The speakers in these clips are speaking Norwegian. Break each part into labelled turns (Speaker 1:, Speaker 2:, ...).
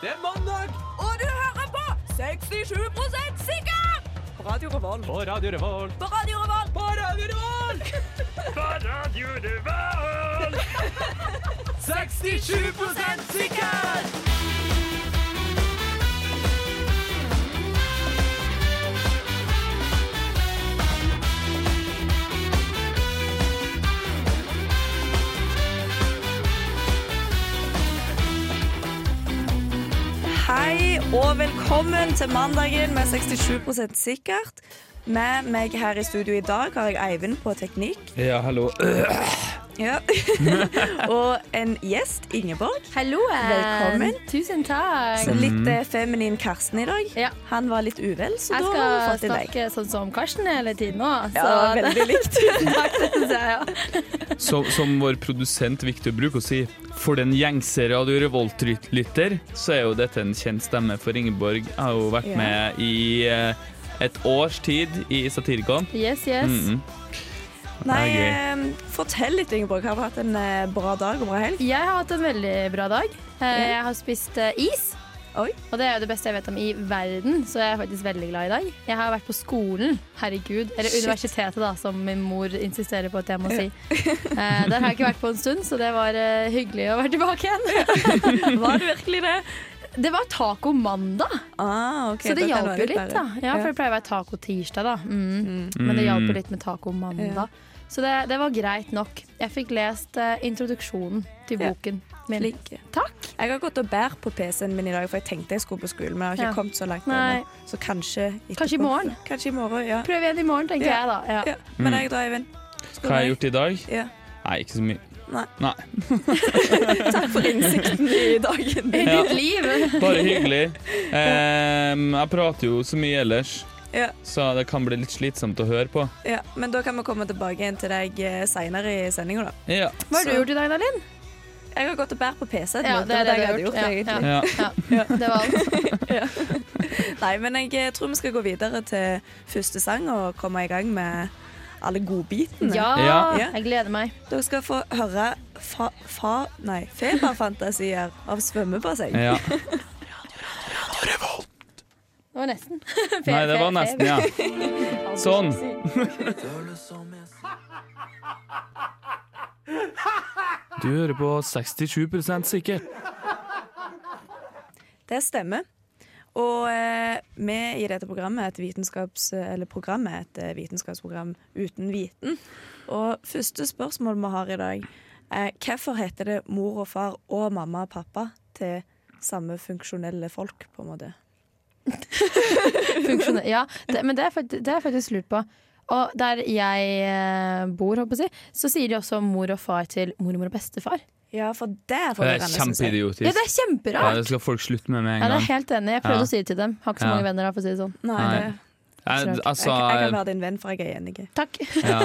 Speaker 1: Det er mandag
Speaker 2: Og du hører på 67 sikker! På Radio Revolt.
Speaker 1: på Radio Revolt.
Speaker 2: På Radio Revolt.
Speaker 1: På Radio Revolt! på Radio Revolt! 67 sikker!
Speaker 2: Hei og velkommen til mandagen med 67 sikkert. Med meg her i studio i dag har jeg Eivind på teknikk.
Speaker 3: Ja, hallo.
Speaker 2: Ja. og en gjest, Ingeborg.
Speaker 4: Hallo. eh,
Speaker 2: Velkommen.
Speaker 4: Tusen takk.
Speaker 2: Så litt eh, feminin Karsten i dag.
Speaker 4: Ja.
Speaker 2: Han var litt uvel, så da
Speaker 4: Jeg skal
Speaker 2: har vi fått inn deg.
Speaker 4: snakke sånn som Karsten hele tiden nå.
Speaker 2: Ja, veldig likt.
Speaker 4: Tusen takk, det synes jeg, ja.
Speaker 3: Som, som vår produsent Victor bruker å si, for den gjengse Radio Revolt-lytter, så er jo dette en kjent stemme for Ingeborg. Jeg har jo vært
Speaker 2: Ja.
Speaker 3: med i eh, et års tid i Satirikon.
Speaker 4: Yes, yes.
Speaker 3: Mm, mm.
Speaker 2: Nei,
Speaker 3: Det er
Speaker 2: eh, fortell litt, Ingeborg. Har du hatt en eh, bra dag og bra helg?
Speaker 4: Jeg har hatt en veldig bra dag. Eh, Jeg har spist eh, is.
Speaker 2: Oi.
Speaker 4: Og det er jo det beste jeg vet om i verden, så jeg er faktisk veldig glad i dag. Jeg har vært på skolen, herregud. Eller
Speaker 2: Shit.
Speaker 4: universitetet, da, som min mor insisterer på at jeg må si. Eh, der har jeg ikke vært på en stund, så det var eh, hyggelig å være tilbake igjen.
Speaker 2: Var det virkelig det?
Speaker 4: Det var taco mandag.
Speaker 2: Ah, ok,
Speaker 4: så det
Speaker 2: da kan
Speaker 4: hjalp jo
Speaker 2: være
Speaker 4: litt, da.
Speaker 2: verre.
Speaker 4: Ja, for det pleier å være taco tirsdag, da. Mm. Men det hjalp jo litt med taco
Speaker 2: Ja.
Speaker 4: mandag. Så det, det var greit nok. Jeg fikk lest eh, introduksjonen til
Speaker 2: Ja.
Speaker 4: boken min.
Speaker 2: Flink.
Speaker 4: Takk.
Speaker 2: Jeg har gått og bært på PC-en min i dag, for jeg tenkte jeg skulle på skolen, men jeg har ikke
Speaker 4: Ja.
Speaker 2: kommet så langt
Speaker 4: Nei.
Speaker 2: ennå. Så kanskje etterpå.
Speaker 4: Kanskje i morgen?
Speaker 2: Kanskje i morgen, ja.
Speaker 4: Prøv igjen i morgen, tenker
Speaker 2: Ja.
Speaker 4: jeg da. Ja.
Speaker 2: ja. Men jeg da, Eivind.
Speaker 3: Hva har jeg gjort i dag?
Speaker 2: Ja.
Speaker 3: Nei, ikke så mye.
Speaker 2: Nei.
Speaker 3: Nei.
Speaker 2: Takk for innsikten i dagen
Speaker 4: I
Speaker 2: din.
Speaker 3: Ja.
Speaker 4: ditt liv.
Speaker 3: Bare hyggelig. Em, jeg prater jo så mye ellers,
Speaker 2: Ja,
Speaker 3: så det kan bli litt slitsomt å høre på.
Speaker 2: ja. Men da kan vi komme tilbake igjen til deg eh, senere i sendinga, da.
Speaker 3: Ja.
Speaker 4: Hva har du gjort i dag, da, Linn?
Speaker 2: Jeg har gått og bært på PC-en.
Speaker 4: Ja,
Speaker 2: min,
Speaker 4: det er
Speaker 2: var
Speaker 4: det
Speaker 2: jeg
Speaker 4: du har
Speaker 2: hadde
Speaker 4: gjort,
Speaker 2: egentlig.
Speaker 3: ja.
Speaker 4: Ja. Det var alt.
Speaker 2: Nei, men jeg eh, tror vi skal gå videre til første sang og komme i gang med alle godbitene.
Speaker 4: Ja,
Speaker 3: Ja.
Speaker 4: jeg gleder meg.
Speaker 2: Dere skal få høre fa... fa nei, feberfantasier av svømmebasseng.
Speaker 3: ja.
Speaker 4: Det var nesten.
Speaker 3: Nei, det var nesten, ja. Sånn. Du hører på 67 sikkert.
Speaker 2: Det stemmer. Og eh, vi i dette programmet er et, vitenskaps, eller programmet er et eh, vitenskapsprogram uten viten. Og første spørsmål vi har i dag er hvorfor heter det mor og far og mamma og pappa til samme funksjonelle folk, på en måte?
Speaker 4: Funksjoner. Ja, det, men det er, fakt- det er faktisk lurt på. Og der jeg eh, bor, håper jeg, å si, så sier de også mor og far til mormor og bestefar.
Speaker 2: Ja, for det er
Speaker 3: Det er
Speaker 2: forvirrende, synes jeg.
Speaker 3: kjempeidiotisk.
Speaker 4: Ja, det er
Speaker 3: Ja,
Speaker 4: kjemperart!
Speaker 3: det skal folk slutte med med
Speaker 4: Ja,
Speaker 3: en
Speaker 4: det er
Speaker 3: gang.
Speaker 4: jeg helt enig. Jeg prøvde
Speaker 3: Ja.
Speaker 4: å si det til dem. Har ikke så
Speaker 3: Ja.
Speaker 4: mange venner, da, for å si det sånn.
Speaker 2: Nei,
Speaker 3: Nei.
Speaker 2: det,
Speaker 3: Jeg,
Speaker 4: Absolutt.
Speaker 3: altså,
Speaker 2: jeg, jeg kan være din venn, for jeg er enig.
Speaker 4: Takk.
Speaker 3: ja.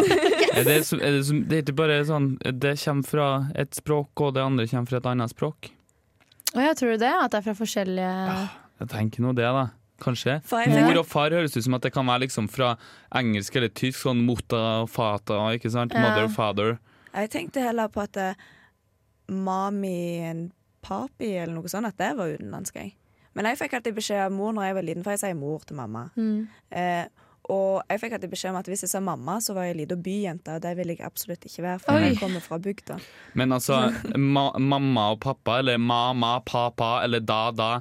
Speaker 3: er det, som- er det, som- det er ikke bare sånn Det kommer fra et språk, og det andre kommer fra et annet språk.
Speaker 4: Og jeg tror det, at det er fra forskjellige
Speaker 3: Jeg tenker nå det, da. Kanskje.
Speaker 2: For jeg
Speaker 3: Mor
Speaker 2: tenker,
Speaker 3: og far høres ut som at det kan være liksom fra engelsk eller tysk, sånn motta og fata, ikke sant?
Speaker 4: Ja.
Speaker 3: Mother, father.
Speaker 2: jeg tenkte heller på at eh, mami and papi eller noe sånt, at det var utenlandsk. jeg. Men jeg fikk alltid beskjed av mor når jeg var liten, for jeg sier mor til mamma.
Speaker 4: Mm.
Speaker 2: Eh, og jeg fikk alltid beskjed om at hvis jeg sa mamma, så var jeg lita byjente, og det vil jeg absolutt ikke være, for
Speaker 4: Oi.
Speaker 2: jeg kommer fra bygda.
Speaker 3: Men altså, ma mamma og pappa, eller mama, papa, eller da-da,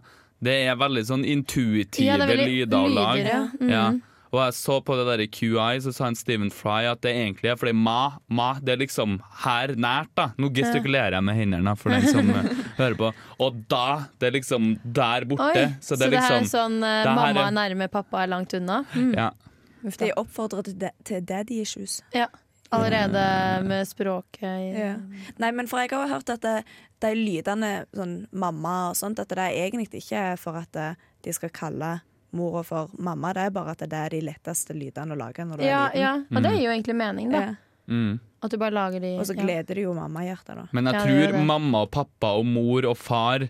Speaker 3: det er veldig sånn intuitive
Speaker 4: Ja, det er veldig
Speaker 3: lyder og lag.
Speaker 4: lyder, ja. Mhm.
Speaker 3: Ja. Og jeg så på det der i QI, så sa han Stephen Fry at det egentlig er fordi ma, ma, det er liksom her nært, da. Nå gestikulerer jeg med hendene da, for den som eh, hører på. Og da, det er liksom der borte.
Speaker 4: Oi,
Speaker 3: så det er liksom
Speaker 4: her er sånn eh,
Speaker 3: det her
Speaker 4: mamma
Speaker 3: er-
Speaker 4: er nærme, pappa er langt unna. Mm.
Speaker 3: ja.
Speaker 4: Uff da.
Speaker 2: De oppfordrer til, de, til daddy issues.
Speaker 4: Ja. Allerede
Speaker 3: Mm.
Speaker 4: med språket i-
Speaker 2: Mm. Nei, men for jeg har jo hørt at det, de lydene sånn mamma og sånt, at det er egentlig ikke for at eh, de skal kalle mora for mamma, det er bare at det er de letteste lydene å lage når du
Speaker 4: ja,
Speaker 2: er liten.
Speaker 4: ja. Og det gir jo egentlig mening, da.
Speaker 2: Ja.
Speaker 3: Mm.
Speaker 4: At du bare lager de
Speaker 2: Og så
Speaker 4: ja.
Speaker 2: gleder det jo mammahjertet, da.
Speaker 3: Men jeg
Speaker 4: Ja, det
Speaker 3: tror
Speaker 4: er det.
Speaker 3: mamma og pappa og mor og far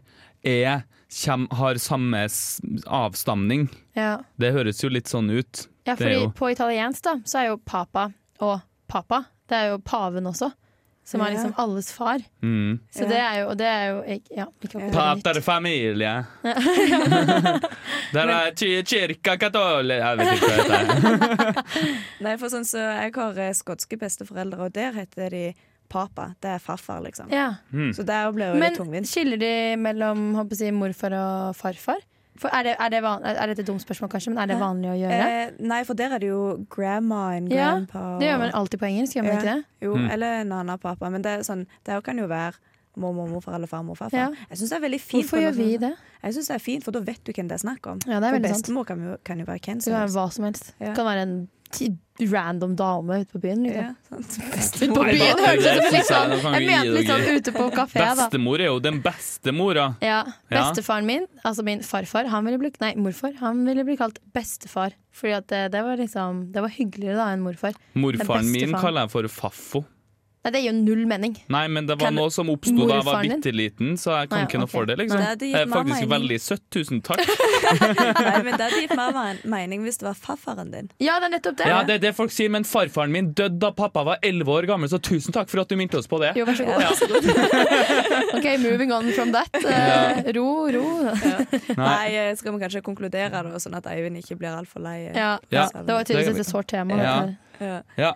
Speaker 3: er, kjem, har samme s- avstamning.
Speaker 4: Ja.
Speaker 3: Det høres jo litt sånn ut.
Speaker 4: ja,
Speaker 3: det er
Speaker 4: fordi
Speaker 3: jo
Speaker 4: på italiensk, da, så er jo papa og papa. Det er jo paven også. som er liksom alles far.
Speaker 3: Mm.
Speaker 4: Så
Speaker 2: Ja.
Speaker 4: det er jo, og det er jo ikke- ja, ikke akkurat nytt.
Speaker 3: Paterfamilie. Der er ki- kirka katoli... Jeg vet ikke hva det heter.
Speaker 2: Nei, for sånn så Jeg har eh, skotske besteforeldre, og der heter de papa. Det er farfar, liksom.
Speaker 4: Ja.
Speaker 2: Så der blir jo litt
Speaker 4: Men
Speaker 2: tungvint.
Speaker 4: skiller de mellom håper jeg å si, morfar og farfar? For er, det, er, det van, er dette et dumt spørsmål, kanskje, men er det vanlig å gjøre?
Speaker 2: Eh, nei, for der er det jo grandma and
Speaker 4: Ja,
Speaker 2: grandpa. og-
Speaker 4: Det gjør man alltid på engelsk, gjør man
Speaker 2: Ja.
Speaker 4: ikke det?
Speaker 2: Jo, eller nana og pappa. Men det er sånn, der kan jo være mormor, morfar eller farmor og farfar.
Speaker 4: Ja.
Speaker 2: Jeg syns det er veldig fint.
Speaker 4: Hvorfor
Speaker 2: på
Speaker 4: gjør
Speaker 2: noen
Speaker 4: vi
Speaker 2: måte.
Speaker 4: det?
Speaker 2: Jeg synes det er fint, For da vet du hvem det er snakk om.
Speaker 4: Ja, det er
Speaker 2: for
Speaker 4: veldig sant.
Speaker 2: bestemor kan jo, kan jo være hvem
Speaker 4: Det
Speaker 2: som
Speaker 4: kan være
Speaker 2: helst.
Speaker 4: hva som helst.
Speaker 2: Ja.
Speaker 4: Det kan være en ti- random dame ute på byen. Liksom.
Speaker 2: Ja, sant.
Speaker 4: Ute på
Speaker 3: Nei,
Speaker 4: byen
Speaker 3: da-
Speaker 4: høres det ut som
Speaker 3: det
Speaker 4: litt sånn
Speaker 3: synes jeg- da kan
Speaker 4: Jeg
Speaker 3: vi gi
Speaker 4: mente litt sånn
Speaker 3: dere-
Speaker 4: ute på kafé, da.
Speaker 3: Bestemor er jo den beste mora.
Speaker 4: Ja,
Speaker 3: Ja.
Speaker 4: Bestefaren min, altså min farfar, han ville bli, nei, morfar, han ville bli kalt bestefar. Fordi at det, det var liksom Det var hyggeligere da enn morfar.
Speaker 3: Morfaren
Speaker 4: Den beste
Speaker 3: min
Speaker 4: faren.
Speaker 3: kaller jeg for Faffo.
Speaker 4: Nei, det gir jo null mening.
Speaker 3: Nei, men det var
Speaker 4: Kan-
Speaker 3: noe som oppsto da jeg var
Speaker 4: Morfaren din?
Speaker 3: bitte liten, så jeg kan
Speaker 4: Nei,
Speaker 3: ikke noe
Speaker 4: ok.
Speaker 3: for det. liksom
Speaker 2: Nei, det gir
Speaker 3: Jeg er
Speaker 2: mamma
Speaker 3: faktisk
Speaker 2: en-
Speaker 3: veldig søtt. Tusen takk.
Speaker 2: Nei, men Det hadde gitt mer men- mening hvis det var farfaren din.
Speaker 4: Ja, det er nettopp det.
Speaker 3: Ja, det er det folk sier, men farfaren min døde da pappa var 11 år gammel, så tusen takk for at du minte oss på det.
Speaker 4: Jo, vær så god.
Speaker 3: Ja.
Speaker 4: OK, moving on from that. Eh, ro, ro.
Speaker 2: Nei, eh, skal vi kanskje konkludere, da, sånn at Eivind ikke blir altfor lei? eh,
Speaker 4: Ja.
Speaker 3: Ja.
Speaker 2: salen?
Speaker 4: Det var tydeligvis et sårt tema.
Speaker 3: Ja.
Speaker 4: dette her.
Speaker 2: Ja. Eh,
Speaker 3: Ja.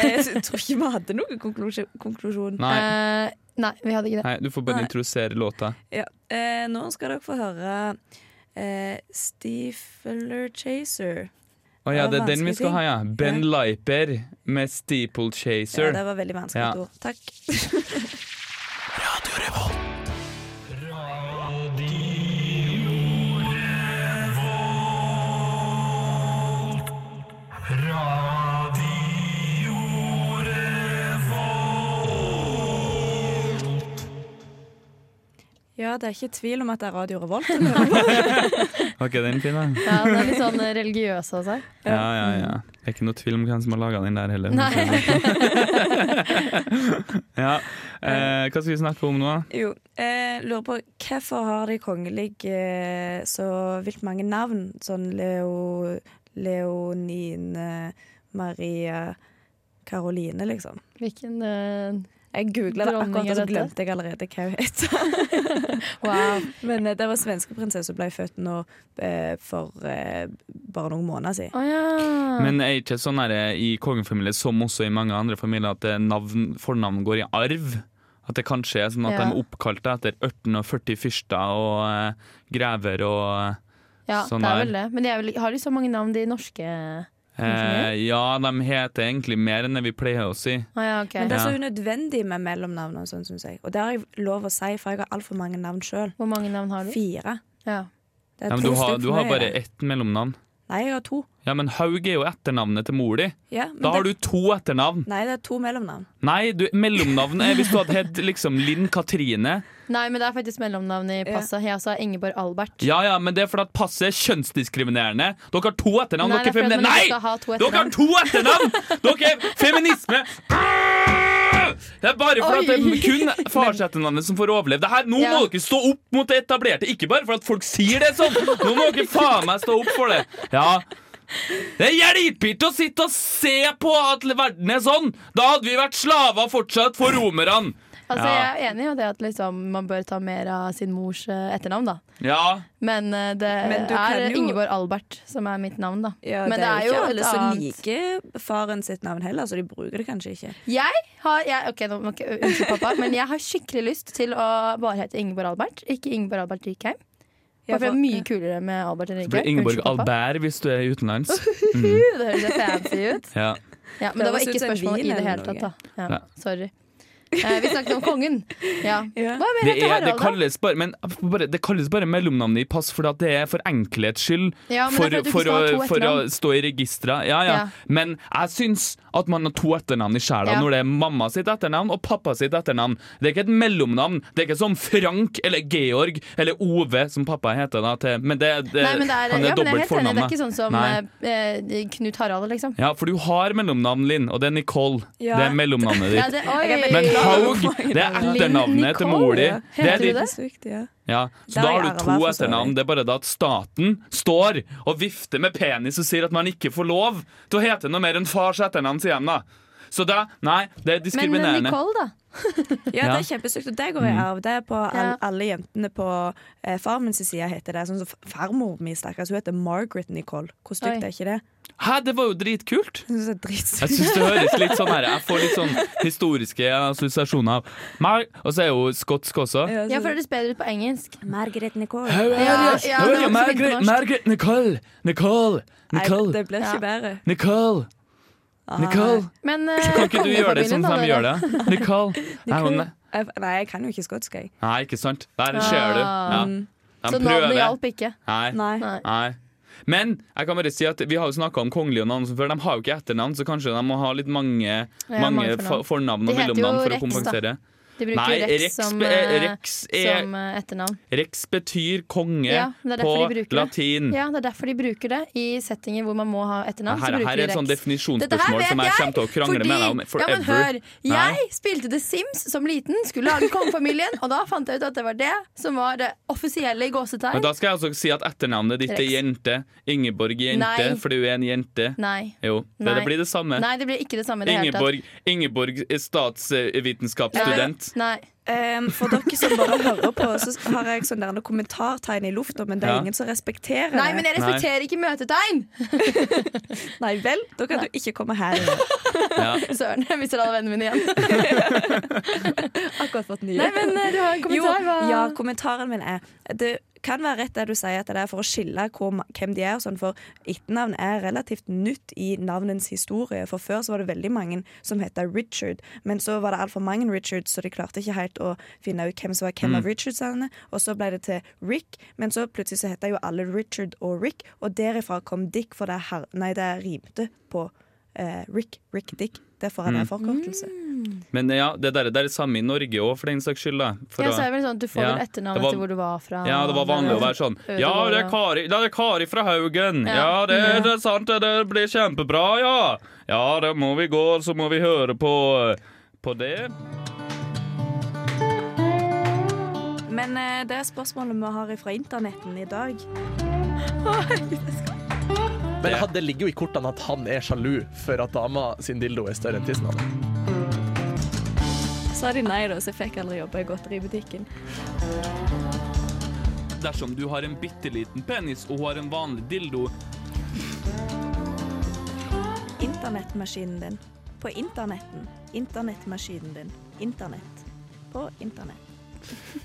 Speaker 2: Jeg tror ikke vi hadde noen konklusjon. konklusjon.
Speaker 3: Nei.
Speaker 4: Eh, nei, vi hadde ikke det.
Speaker 3: Nei, du får bare
Speaker 2: Nei.
Speaker 3: introdusere låta.
Speaker 2: Ja. Eh, nå skal dere få høre eh, Stifler Chaser.
Speaker 3: Å ja,
Speaker 2: Det
Speaker 3: det
Speaker 2: var
Speaker 3: er den vi
Speaker 2: vanskelig
Speaker 3: skal ha, ja. Ben Liper med
Speaker 2: Ja,
Speaker 3: Steeplechaser.
Speaker 2: det var veldig vanskelig
Speaker 3: Ja.
Speaker 2: ord. Takk. Ja, det er ikke tvil om at det er Radio Revolt. du hører på.
Speaker 3: Var ikke den fin, da?
Speaker 4: Ja, det er litt sånn religiøs av seg.
Speaker 3: Ja, ja, ja. Det er ikke noe tvil om hvem som har laga den der heller.
Speaker 4: Nei.
Speaker 3: Ja. Eh, hva skal vi snakke om nå?
Speaker 2: Jo, eh, lurer på hvorfor har de kongelige eh, så vilt mange navn? Sånn Leo, Leonine, Maria, Karoline, liksom.
Speaker 4: Hvilken eh,
Speaker 2: Jeg googla det
Speaker 4: Dronning
Speaker 2: akkurat, og
Speaker 4: er
Speaker 2: så
Speaker 4: dette?
Speaker 2: glemte jeg allerede hva hun het.
Speaker 4: Wow.
Speaker 2: Men eh, det var svenske prinsesse som ble født nå eh, for eh, bare noen måneder siden.
Speaker 4: Å ja.
Speaker 3: Men er ikke sånn her i kongefamilier som også i mange andre familier at det er navn, fornavn går i arv? At det kanskje er sånn at
Speaker 4: Ja.
Speaker 3: de er oppkalt etter 1840 fyrster og eh, grever og
Speaker 4: ja,
Speaker 3: sånn
Speaker 4: det
Speaker 3: er.
Speaker 4: er vel det. Men de er vel, har de så mange navn, de norske?
Speaker 3: eh, Ja, de heter egentlig mer enn det vi pleier å si.
Speaker 4: Å ja, ok.
Speaker 2: Men det er så
Speaker 3: Ja.
Speaker 2: unødvendig med mellomnavn og sånn, syns jeg. Og det har jeg lov å si, for jeg har altfor mange navn sjøl.
Speaker 4: Hvor mange navn har du?
Speaker 2: Fire.
Speaker 4: Ja.
Speaker 2: Det er
Speaker 3: Ja, men
Speaker 2: to
Speaker 3: du, har,
Speaker 2: stykker
Speaker 3: du
Speaker 2: for
Speaker 3: har
Speaker 2: mye,
Speaker 3: bare
Speaker 2: det.
Speaker 3: ett mellomnavn.
Speaker 2: Nei, jeg har to.
Speaker 3: Ja, men Haug er jo etternavnet til mor di.
Speaker 2: Ja, men
Speaker 3: Da har
Speaker 2: det-
Speaker 3: du to etternavn.
Speaker 2: Nei, det er to mellomnavn.
Speaker 3: Nei, du, mellomnavn er hvis du hadde hett liksom Linn Katrine.
Speaker 4: Nei, men det er faktisk mellomnavn i passet. Jeg sa Ingeborg Albert.
Speaker 3: Ja ja, men det er fordi at passet er kjønnsdiskriminerende. Dere har to etternavn.
Speaker 4: Nei, det
Speaker 3: Dere
Speaker 4: er
Speaker 3: er
Speaker 4: fordi at
Speaker 3: femine-
Speaker 4: man ikke
Speaker 3: Nei!
Speaker 4: skal ha to
Speaker 3: Dere har
Speaker 4: etternavn.
Speaker 3: to etternavn! Dere er feminisme! Det er bare for at det
Speaker 4: Oi.
Speaker 3: er kun farsetternavnet som får overleve. Det her, nå må
Speaker 4: Ja.
Speaker 3: dere stå opp mot det etablerte, ikke bare for at folk sier det sånn. Nå må dere faen meg stå opp for det. Ja. Det hjelper ikke å sitte og se på at verden er sånn! Da hadde vi vært slaver fortsatt for romerne.
Speaker 4: Altså,
Speaker 3: Ja.
Speaker 4: Jeg er enig i det at liksom, man bør ta mer av sin mors eh, etternavn, da.
Speaker 3: Ja,
Speaker 4: Men eh, det
Speaker 2: Men du
Speaker 4: er
Speaker 2: kan jo-
Speaker 4: Ingeborg Albert som er mitt navn, da.
Speaker 2: Ja,
Speaker 4: Men
Speaker 2: det er jo ikke
Speaker 4: et
Speaker 2: alle som
Speaker 4: annet-
Speaker 2: liker faren sitt navn heller, så de bruker det kanskje ikke.
Speaker 4: Jeg har jeg, Ok, nå må ikke unnskyld pappa, men jeg har skikkelig lyst til å bare hete Ingeborg Albert, ikke Ingeborg Albert Rikheim.
Speaker 2: Ja,
Speaker 4: Bare for det
Speaker 2: for-
Speaker 4: er mye kulere med Albert enn
Speaker 3: det blir
Speaker 4: Rikheim.
Speaker 3: Ingeborg
Speaker 4: Unnskyld, pappa.
Speaker 3: Albert hvis du er utenlands.
Speaker 4: Uh, Det høres fancy ut.
Speaker 3: Ja.
Speaker 4: Ja, men det var
Speaker 2: høres ut
Speaker 4: ikke
Speaker 2: som
Speaker 4: spørsmål
Speaker 2: vin
Speaker 4: i det
Speaker 2: eller
Speaker 4: hele tatt, da.
Speaker 3: Ja.
Speaker 4: Ja, sorry. Eh, vi snakket om kongen. Ja.
Speaker 2: Ja.
Speaker 4: Hva mer
Speaker 3: Det,
Speaker 4: heter
Speaker 3: er, det,
Speaker 4: Harald, da?
Speaker 3: kalles bare, men bare, det kalles bare mellomnavnet i pass, for at det er for enkelhets skyld.
Speaker 4: Ja, men
Speaker 3: for,
Speaker 4: det er for
Speaker 3: for,
Speaker 4: at du
Speaker 3: å,
Speaker 4: ikke skal ha to
Speaker 3: for å
Speaker 4: etternavn.
Speaker 3: stå i registra. Ja, ja.
Speaker 4: Ja.
Speaker 3: Men jeg syns at man har to etternavn i sjela
Speaker 4: Ja.
Speaker 3: når det er mamma sitt etternavn og pappa sitt etternavn. Det er ikke et mellomnavn. Det er ikke som Frank eller Georg eller Ove, som pappa heter. Da, til, men det, det,
Speaker 4: Nei, men det er,
Speaker 3: han er
Speaker 4: ja, men jeg er helt enig. Det
Speaker 3: dobbelt
Speaker 4: er
Speaker 3: fornavnet.
Speaker 4: ikke sånn som
Speaker 3: Nei.
Speaker 4: eh, Knut Harald, liksom.
Speaker 3: Ja, for du har mellomnavn, Linn, og det er Nicole.
Speaker 2: Ja.
Speaker 3: Det er mellomnavnet
Speaker 4: Ja,
Speaker 3: ditt.
Speaker 4: det, oi,
Speaker 2: Jeg er
Speaker 3: Men
Speaker 2: veldig glad
Speaker 3: Haug, det er etternavnet til mor di.
Speaker 4: Nicole, ja.
Speaker 3: Det
Speaker 4: Heter
Speaker 3: er
Speaker 4: du
Speaker 3: ditt
Speaker 4: det?
Speaker 2: Sykt, ja.
Speaker 3: Ja, så
Speaker 2: Der
Speaker 3: da
Speaker 2: er
Speaker 3: har
Speaker 2: jeg
Speaker 3: du to
Speaker 2: forståelig.
Speaker 3: etternavn. Det er bare det at staten står og vifter med penis og sier at man ikke får lov til å hete noe mer enn fars etternavn, sier de da. Så da, nei,
Speaker 4: Men
Speaker 3: det er
Speaker 4: eh,
Speaker 3: diskriminerende.
Speaker 4: Nicole, da?
Speaker 2: Ja,
Speaker 3: Ja. Mm.
Speaker 2: det er kjempestygt, og det går i arv. Det er på all,
Speaker 4: Ja.
Speaker 2: alle jentene på eh, far min sin side heter det. Sånn som f- farmor mi, stakkars, hun heter Margaret Nicole. Hvor
Speaker 4: Oi.
Speaker 2: stygt er ikke det?
Speaker 3: Hæ, det var jo dritkult!
Speaker 2: Jeg synes det er
Speaker 3: Jeg
Speaker 2: dritstygt.
Speaker 3: syns det høres litt sånn her Jeg får litt sånn historiske assosiasjoner av Mar Og så er jo skotsk også.
Speaker 4: Ja, for det høres bedre ut på engelsk.
Speaker 2: Margaret Nicole.
Speaker 3: Hør,
Speaker 4: Ja,
Speaker 3: hør,
Speaker 4: ja,
Speaker 3: hør,
Speaker 4: det var så fint på
Speaker 3: Margaret,
Speaker 4: norsk.
Speaker 3: Margaret, Nicole, Nicole,
Speaker 2: Nei,
Speaker 3: Nicole,
Speaker 2: det blir ikke
Speaker 4: Ja.
Speaker 2: bedre.
Speaker 3: Nicole, Nicole.
Speaker 4: Men eh,
Speaker 3: Kan ikke du gjøre det
Speaker 4: kongefamilien,
Speaker 3: sånn
Speaker 4: Ah. da,
Speaker 3: som de
Speaker 4: dere?
Speaker 3: gjør det? Nicole. Nei, hun,
Speaker 2: Jeg, nei, jeg kan jo ikke skotsk, jeg.
Speaker 3: nei, ikke sant? Der ser du.
Speaker 4: Ah.
Speaker 3: Ja.
Speaker 4: Så
Speaker 3: De
Speaker 4: navnet
Speaker 3: prøver.
Speaker 4: hjalp ikke.
Speaker 3: Nei.
Speaker 2: Nei.
Speaker 4: Nei.
Speaker 3: Nei. Men jeg kan bare si at vi har jo snakka om kongelige navn som før. De har jo ikke etternavn, så kanskje de må ha litt mange, mange
Speaker 4: mange
Speaker 3: for-
Speaker 4: fornavn.
Speaker 3: fornavn
Speaker 4: De
Speaker 3: og
Speaker 4: heter
Speaker 3: mellomnavn
Speaker 4: jo
Speaker 3: for å
Speaker 4: Rex,
Speaker 3: kompensere.
Speaker 4: De bruker
Speaker 3: Nei,
Speaker 4: Rex,
Speaker 3: Rex,
Speaker 4: som,
Speaker 3: be-
Speaker 4: eh,
Speaker 3: Rex E- er-
Speaker 4: som eh, etternavn.
Speaker 3: Rex betyr konge
Speaker 4: Ja, det er
Speaker 3: på
Speaker 4: derfor de bruker det.
Speaker 3: latin.
Speaker 4: Ja, Det er derfor de bruker det i settinger hvor man må ha etternavn. så
Speaker 3: Mm. her,
Speaker 4: bruker
Speaker 3: her
Speaker 4: de
Speaker 3: er et sånn
Speaker 4: Rex.
Speaker 3: definisjonsspørsmål som jeg kommer til å krangle med deg om
Speaker 4: ja, men
Speaker 3: forever.
Speaker 4: hør, Jeg spilte The Sims som liten, skulle lage kongefamilien, og da fant jeg ut at det var det som var det offisielle i
Speaker 3: Men
Speaker 4: gåsetegn.
Speaker 3: da skal jeg også si at etternavnet ditt er
Speaker 4: Rex.
Speaker 3: Jente. Ingeborg Jente,
Speaker 4: Nei.
Speaker 3: fordi hun er en jente.
Speaker 4: Nei.
Speaker 3: Jo, det,
Speaker 4: Nei.
Speaker 3: det blir det samme.
Speaker 4: Nei, det blir ikke det samme. i Det hele tatt.
Speaker 3: Ingeborg, Ingeborg er statsvitenskapsstudent.
Speaker 4: Nei.
Speaker 2: Ehm, for dere som bare hører på, så har jeg sånn der noe kommentartegn i lufta, men det er
Speaker 3: Ja.
Speaker 2: ingen som respekterer
Speaker 4: Nei, men
Speaker 2: det.
Speaker 4: jeg respekterer ikke møtetegn!
Speaker 2: Nei vel, da kan du ikke komme her. igjen.
Speaker 3: Ja.
Speaker 4: Søren, jeg mister alle vennene mine igjen.
Speaker 2: Akkurat fått nye.
Speaker 4: Nei, men eh, du har en kommentar.
Speaker 2: jo,
Speaker 4: hva-
Speaker 2: ja, kommentaren min er Det kan være rett det du sier, at det er for å skille hvor, ma- hvem de er, og sånn, for etternavn er relativt nytt i navnens historie. For før så var det veldig mange som het Richard, men så var det altfor mange Richards, så de klarte ikke helt å finne ut hvem som var hvem
Speaker 4: Mm.
Speaker 2: av Richardsene. Og så ble det til Rick, men så plutselig så heter jo alle Richard og Rick, og derifra kom Dick, for det, er her, nei, det rimte på eh, Rick, Rick Dick. Derfor er
Speaker 4: Mm.
Speaker 2: det en forkortelse.
Speaker 3: Men ja, det der, det er det samme i Norge òg, for den saks skyld. Da. For
Speaker 4: Ja,
Speaker 3: å-
Speaker 4: så er det vel sånn at Du får
Speaker 3: Ja,
Speaker 4: vel etternavn
Speaker 3: det var-
Speaker 4: etter hvor du var fra.
Speaker 3: Ja, det var vanlig å være sånn Ja, det er Kari, ja, det er Kari fra Haugen.
Speaker 4: Ja. Mhm.
Speaker 3: Ja, det, det er sant, det, det blir kjempebra, ja. Ja, da må vi gå, så må vi høre på, på det.
Speaker 2: Men eh, det er spørsmålet vi har fra internetten i dag.
Speaker 5: Men han- det ligger jo i kortene at han er sjalu for at dama sin dildo er større enn tissen hans.
Speaker 2: Sa de nei, da, så jeg fikk aldri jobbe i godteributikken.
Speaker 3: Dersom du har en bitte liten penis og har en vanlig dildo
Speaker 2: Internettmaskinen din. På internetten. Internettmaskinen din. Internett. På internett.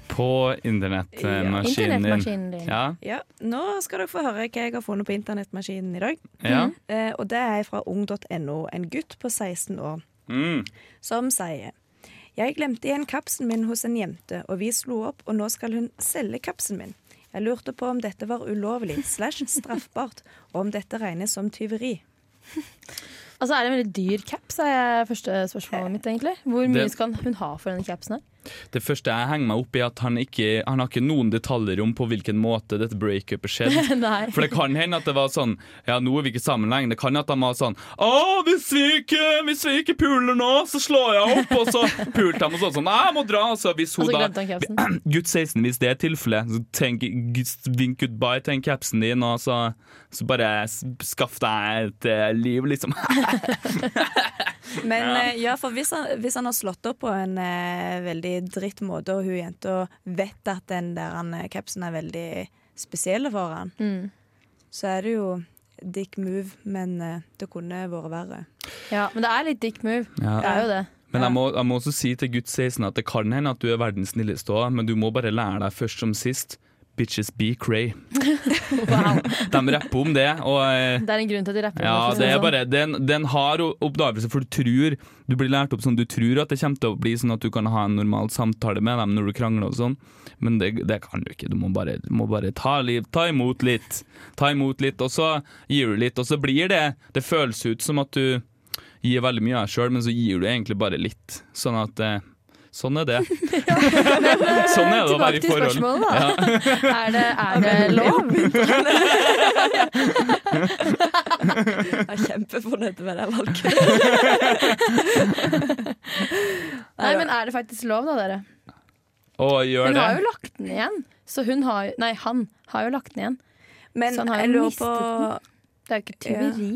Speaker 3: På
Speaker 4: Internettmaskinen din.
Speaker 3: Ja,
Speaker 2: Ja, nå skal dere få høre hva jeg har funnet på internettmaskinen i dag.
Speaker 3: ja.
Speaker 2: Eh, og det er fra ung.no. En gutt på 16 år.
Speaker 3: Mm.
Speaker 2: som sier Jeg glemte igjen kapsen min hos en jente, og vi slo opp, og nå skal hun selge kapsen min. Jeg lurte på om dette var ulovlig slash straffbart, og om dette regnes som tyveri.
Speaker 4: Altså Er det en veldig dyr caps, er første spørsmålet mitt. egentlig Hvor mye
Speaker 3: Det-
Speaker 4: skal hun ha for denne capsen? her?
Speaker 3: Det første jeg henger meg opp i, er at han ikke Han har ikke noen detaljer om på hvilken måte dette breakupet skjedde.
Speaker 4: Nei.
Speaker 3: For det kan hende at det var sånn Ja, nå er vi ikke sammen lenger. Det kan hende at de var sånn Å, hvis vi ikke, hvis vi ikke puler nå, så slår jeg opp. Og så pulte de og sånn sånn. Jeg må dra. Altså, hvis
Speaker 4: Og
Speaker 3: hun
Speaker 4: så
Speaker 3: da
Speaker 4: glemte han capsen.
Speaker 3: Gutt 16, hvis det er tilfellet, så tenk, gutt- vink goodbye til den capsen din, og så, så bare s- skaff deg et eh, liv, liksom.
Speaker 2: Men eh, ja, for hvis han, hvis han har slått opp på en eh, veldig dritt måte, og hun jenta vet at den der han, eh, kapsen er veldig spesiell for han,
Speaker 4: Mm.
Speaker 2: så er det jo dick move, men eh, det kunne vært verre.
Speaker 4: Ja, Men det er litt dick move.
Speaker 3: Ja.
Speaker 4: Det er jo det.
Speaker 3: Men jeg må, jeg må også si til gutt 16 at det kan hende at du er verdens snilleste òg, men du må bare lære deg først som sist. Bitches be cray.
Speaker 4: Wow.
Speaker 3: De rapper om det, og eh,
Speaker 4: Det er en grunn til at de rapper.
Speaker 3: Ja,
Speaker 4: om for å
Speaker 3: det er
Speaker 4: si sånn.
Speaker 3: bare det er en- det er en hard o- oppdagelse, for du tror Du blir lært opp sånn, du tror at det kommer til å bli sånn at du kan ha en normal samtale med dem når du krangler og sånn, men det, det kan du ikke. Du må bare, du må bare ta, liv, ta imot litt. Ta imot litt, og så gir du litt, og så blir det Det føles ut som at du gir veldig mye av deg sjøl, men så gir du egentlig bare litt. Sånn at eh, Sånn er det. sånn er det å være
Speaker 4: Tilbake
Speaker 3: i
Speaker 4: til
Speaker 3: forhold.
Speaker 4: spørsmålet, da. Er, det, er det lov?
Speaker 2: Jeg er kjempefornøyd med det valget.
Speaker 4: Nei, men er det faktisk lov, da, dere?
Speaker 3: Å, gjør
Speaker 4: Hun
Speaker 3: det.
Speaker 4: har jo lagt den igjen. Så hun har Nei, han har jo lagt den igjen.
Speaker 2: Men
Speaker 4: Så han
Speaker 2: Sånn
Speaker 4: har
Speaker 2: jeg
Speaker 4: jo
Speaker 2: lurer
Speaker 4: mistet
Speaker 2: på
Speaker 4: Det er jo ikke tyveri.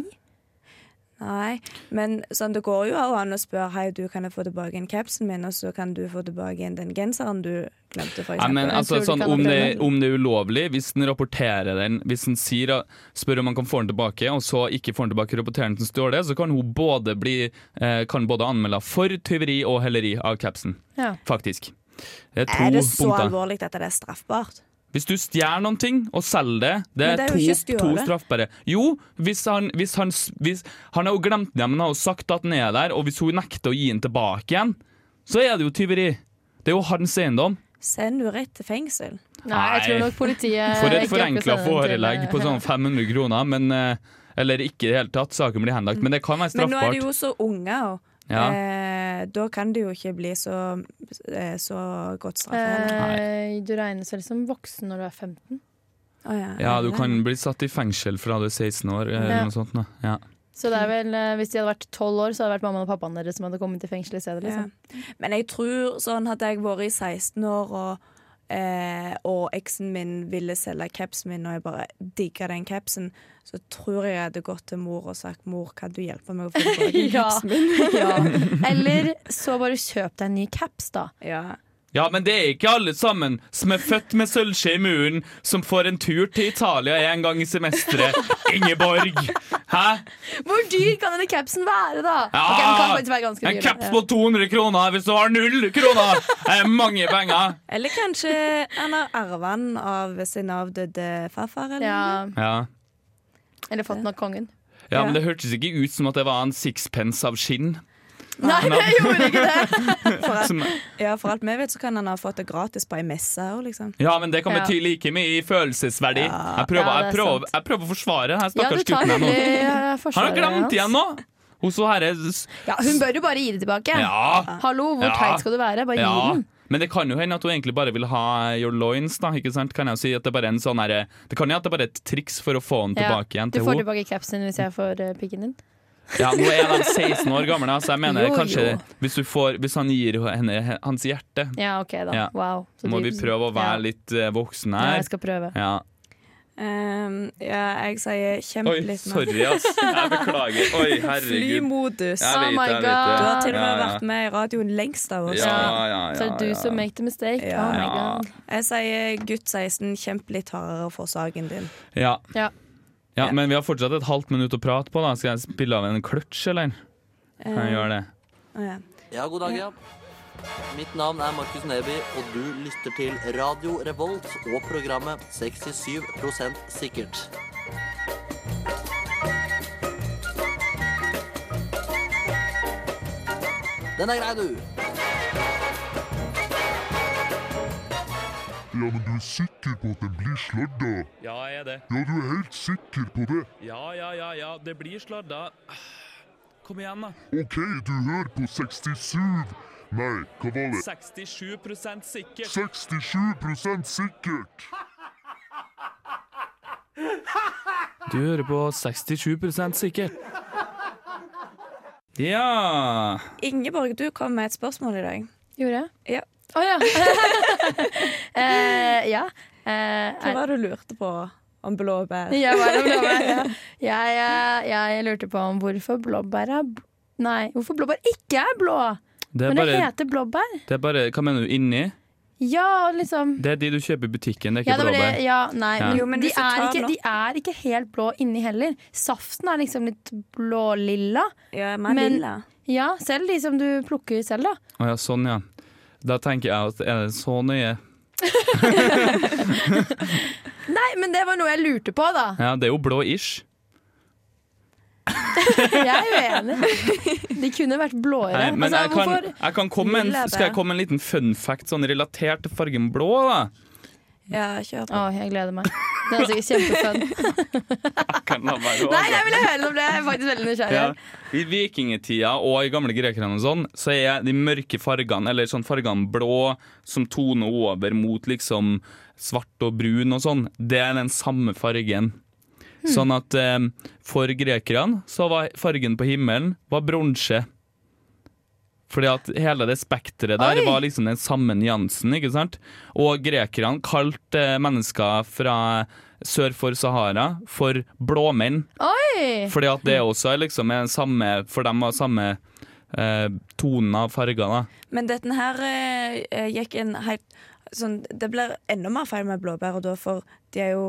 Speaker 2: Nei, men sånn, det går jo an å spørre Hei, du kan jeg få tilbake en capsen min, og så kan du få tilbake igjen den genseren du glemte, for
Speaker 3: Ja,
Speaker 2: eksempel.
Speaker 3: men
Speaker 4: Jeg
Speaker 3: altså,
Speaker 4: tror du
Speaker 3: sånn,
Speaker 4: kan
Speaker 3: om,
Speaker 4: oppleve
Speaker 3: det, om det er ulovlig, hvis den rapporterer den Hvis den sier, at- spør om han kan få den tilbake, og så ikke får den tilbake rapporteren som står det, så kan hun både bli eh, Kan både anmelde for tyveri og heleri av capsen.
Speaker 4: Ja.
Speaker 3: Faktisk. Det er to
Speaker 2: er det så
Speaker 3: punkter.
Speaker 2: alvorlig at det er straffbart?
Speaker 3: Hvis du stjeler noen ting og selger det, det
Speaker 2: Men
Speaker 3: er,
Speaker 2: det er jo
Speaker 3: to,
Speaker 2: ikke
Speaker 3: to
Speaker 2: stjålet.
Speaker 3: straffbare. Jo, hvis han, hvis han, s- hvis, han har jo glemt den, men har jo sagt at den er der, og hvis hun nekter å gi den tilbake igjen, så er det jo tyveri. Det er jo hans eiendom.
Speaker 2: Send du rett til fengsel?
Speaker 4: Nei, jeg tror nok politiet
Speaker 3: For
Speaker 4: Eh, ikke
Speaker 3: et
Speaker 4: rekker å
Speaker 3: forenkla
Speaker 4: sende den til- eh,
Speaker 3: forelegg på sånn 500 kroner, men eh, Eller ikke i det hele tatt, saken blir henlagt. Men det kan være
Speaker 2: Men nå er de
Speaker 3: straffbart.
Speaker 2: jo så unge, og
Speaker 3: Ja.
Speaker 2: eh, da kan det jo ikke bli så, eh, så godt straff. heller.
Speaker 4: Eh, du regnes vel som voksen når du er 15.
Speaker 2: Eh, Å, ja.
Speaker 3: Ja, du kan bli satt i fengsel fra du er 16 år, eh, eller
Speaker 4: Ja.
Speaker 3: noe sånt. nå. Ja.
Speaker 4: Så det er vel, eh, hvis de hadde vært 12 år, så hadde det vært mammaen og pappaen deres som hadde kommet i fengsel i stedet.
Speaker 2: Ja.
Speaker 4: Liksom.
Speaker 2: Men jeg tror sånn hadde jeg vært i 16 år og Eh, og eksen min ville selge capsen min, og jeg bare digga den capsen. Så tror jeg jeg hadde gått til mor og sagt 'mor, kan du hjelpe meg å få tilbake den
Speaker 4: Ja.
Speaker 2: capsen min?'
Speaker 4: Eller så bare kjøp deg en ny caps, da.
Speaker 2: ja.
Speaker 3: ja, men det er ikke alle sammen som er født med sølvskje i muren, som får en tur til Italia en gang i semesteret. Ingeborg! Hæ?
Speaker 4: Hvor dyr kan denne capsen være, da?
Speaker 3: Ja!
Speaker 4: Ok, den kan faktisk være ganske
Speaker 3: En
Speaker 4: dyr. da.
Speaker 3: caps på 200 kroner hvis du har null kroner! Det er mange penger!
Speaker 2: Eller kanskje han har arva den av sin avdøde farfar, eller
Speaker 4: Ja.
Speaker 2: noe.
Speaker 3: Ja.
Speaker 4: Eller fått den av kongen.
Speaker 3: ja, men det hørtes ikke ut som at det var en sixpence av skinn.
Speaker 4: Nei, jeg gjorde ikke det!
Speaker 2: For alt,
Speaker 3: Som
Speaker 2: ja, for alt vi vet, så kan han ha fått det gratis på ei messe òg, liksom.
Speaker 3: Ja, men det kan
Speaker 4: Ja.
Speaker 3: bety like mye i følelsesverdi. jeg, prøver,
Speaker 4: Ja, det er
Speaker 3: jeg, prøver,
Speaker 4: sant.
Speaker 3: jeg prøver å forsvare denne
Speaker 4: Ja, du
Speaker 3: stakkars
Speaker 4: tar
Speaker 3: gutten her nå.
Speaker 4: veldig eh,
Speaker 3: Han har
Speaker 4: forsvaret
Speaker 3: glemt
Speaker 4: hans.
Speaker 3: igjen nå! Hun så herre
Speaker 4: Ja, hun bør jo bare gi det tilbake.
Speaker 3: Ja.
Speaker 4: Hallo, hvor
Speaker 3: Ja.
Speaker 4: teit skal du være? Bare
Speaker 3: ja.
Speaker 4: gi den.
Speaker 3: Men det kan jo hende at hun egentlig bare vil ha your loins, da. Ikke sant? Kan jeg jo si at det bare er en sånn herre Det kan jo at det bare er et triks for å få den
Speaker 4: Ja.
Speaker 3: tilbake igjen
Speaker 4: Du
Speaker 3: til
Speaker 4: får
Speaker 3: henne.
Speaker 4: tilbake capsen din hvis jeg får eh, pikken din.
Speaker 3: Ja, nå er de 16 år gamle, så jeg mener
Speaker 4: Jo,
Speaker 3: kanskje
Speaker 4: jo.
Speaker 3: Hvis, du får, hvis han gir henne hans hjerte,
Speaker 4: Ja, OK, da.
Speaker 3: Ja.
Speaker 4: Wow. Så
Speaker 3: må
Speaker 4: dyr
Speaker 3: vi
Speaker 4: du-
Speaker 3: prøve å være
Speaker 4: ja.
Speaker 3: litt eh, voksne
Speaker 4: Ja,
Speaker 3: her.
Speaker 4: jeg skal prøve.
Speaker 3: Ja.
Speaker 2: Ehm, ja, jeg sier kjemp
Speaker 3: Oi,
Speaker 2: litt nå.
Speaker 3: sorry, ass. Jeg beklager. Oi, herregud.
Speaker 2: Flymodus.
Speaker 3: Jeg
Speaker 4: Oh
Speaker 3: vet,
Speaker 4: my
Speaker 3: jeg vet
Speaker 4: God.
Speaker 2: Du
Speaker 3: det.
Speaker 2: har til og med
Speaker 3: Ja, ja.
Speaker 2: vært med i radioen lengst av oss.
Speaker 3: Ja, ja, ja,
Speaker 4: Så er det du
Speaker 3: ja.
Speaker 4: som make the mistake.
Speaker 2: Ja.
Speaker 4: Oh my
Speaker 3: Ja.
Speaker 4: god.
Speaker 2: Jeg sier gutt 16, kjemp litt hardere for saken din.
Speaker 3: Ja.
Speaker 4: Ja.
Speaker 3: Ja, Men vi har fortsatt et halvt minutt å prate på. da Skal jeg spille av en kløtsj, eller? Kan
Speaker 4: Eh.
Speaker 3: jeg gjøre det?
Speaker 2: Å, ja.
Speaker 6: Ja, god dag, ja. Mitt navn er Markus Neby, og du lytter til Radio Revolt og programmet 67 sikkert. Den er grei, du.
Speaker 7: Ja, men du er sikker på at den blir sladda?
Speaker 3: Ja, jeg er det.
Speaker 7: Ja, du er helt sikker på det?
Speaker 3: Ja, ja, ja, ja. Det blir sladda. Kom igjen, da.
Speaker 7: OK, du hører på 67 Nei, hva var det?
Speaker 3: 67 sikkert.
Speaker 7: 67 sikkert!
Speaker 3: Du hører på 67 sikkert. Ja
Speaker 2: Ingeborg, du kom med et spørsmål i dag.
Speaker 4: Gjorde jeg?
Speaker 2: Ja.
Speaker 4: Å ja. eh, ja. Eh,
Speaker 2: Hva
Speaker 4: er-
Speaker 2: var det du lurte på om blåbær?
Speaker 4: jeg, var det blåbær, ja. jeg, jeg, eh, jeg lurte på om hvorfor blåbær er b- Nei, hvorfor blåbær ikke er blå!
Speaker 3: det er,
Speaker 4: Men det
Speaker 3: bare,
Speaker 4: heter blåbær.
Speaker 3: det er bare Hva mener du? Inni?
Speaker 4: Ja, liksom.
Speaker 3: Det er de du kjøper i butikken, det er
Speaker 4: Ja,
Speaker 3: ikke
Speaker 4: det var det.
Speaker 3: blåbær.
Speaker 4: Ja, nei,
Speaker 3: Ja.
Speaker 4: men,
Speaker 2: Jo, men
Speaker 4: de,
Speaker 2: hvis du
Speaker 4: er
Speaker 2: tar
Speaker 4: ikke,
Speaker 2: blå-
Speaker 4: de er ikke helt blå inni heller. Saften er liksom litt blålilla.
Speaker 2: Ja, mer
Speaker 4: Men-
Speaker 2: lilla.
Speaker 4: Ja, selv de som du plukker selv, da.
Speaker 3: Å ja, sånn, ja. Da tenker jeg at er det så nøye?
Speaker 4: Nei, men det var noe jeg lurte på, da.
Speaker 3: Ja, det er jo blå-ish.
Speaker 4: Jeg er uenig. De kunne vært blåere.
Speaker 3: Nei, men
Speaker 4: altså,
Speaker 3: jeg
Speaker 4: hvorfor
Speaker 3: kan, jeg kan komme med
Speaker 2: Lilla
Speaker 3: en,
Speaker 2: det.
Speaker 3: skal jeg komme med en liten fun fact sånn relatert til fargen blå? da?
Speaker 2: Ja, kjør på.
Speaker 4: Å, jeg gleder meg. Det er altså sikkert kjempefun.
Speaker 3: Kan la meg gå,
Speaker 4: Nei,
Speaker 3: altså.
Speaker 4: jeg ville høre det om det. Jeg er faktisk veldig nysgjerrig.
Speaker 3: ja. I vikingtida og i gamle grekerne og sånn, så er de mørke fargene, eller sånn fargene blå som toner over mot liksom svart og brun og sånn, det er den samme fargen. Sånn at eh, for grekerne så var fargen på himmelen var bronse. Fordi at hele det spekteret der
Speaker 4: Oi!
Speaker 3: var liksom den samme nyansen, ikke sant? Og grekerne kalte eh, mennesker fra sør for Sahara for blåmenn.
Speaker 4: Oi! Oi!
Speaker 3: Fordi at det også er liksom er samme For dem har samme eh, tonen av farger, da.
Speaker 2: Men dette her eh, gikk en helt sånn, Det blir enda mer feil med blåbær, og da for de er jo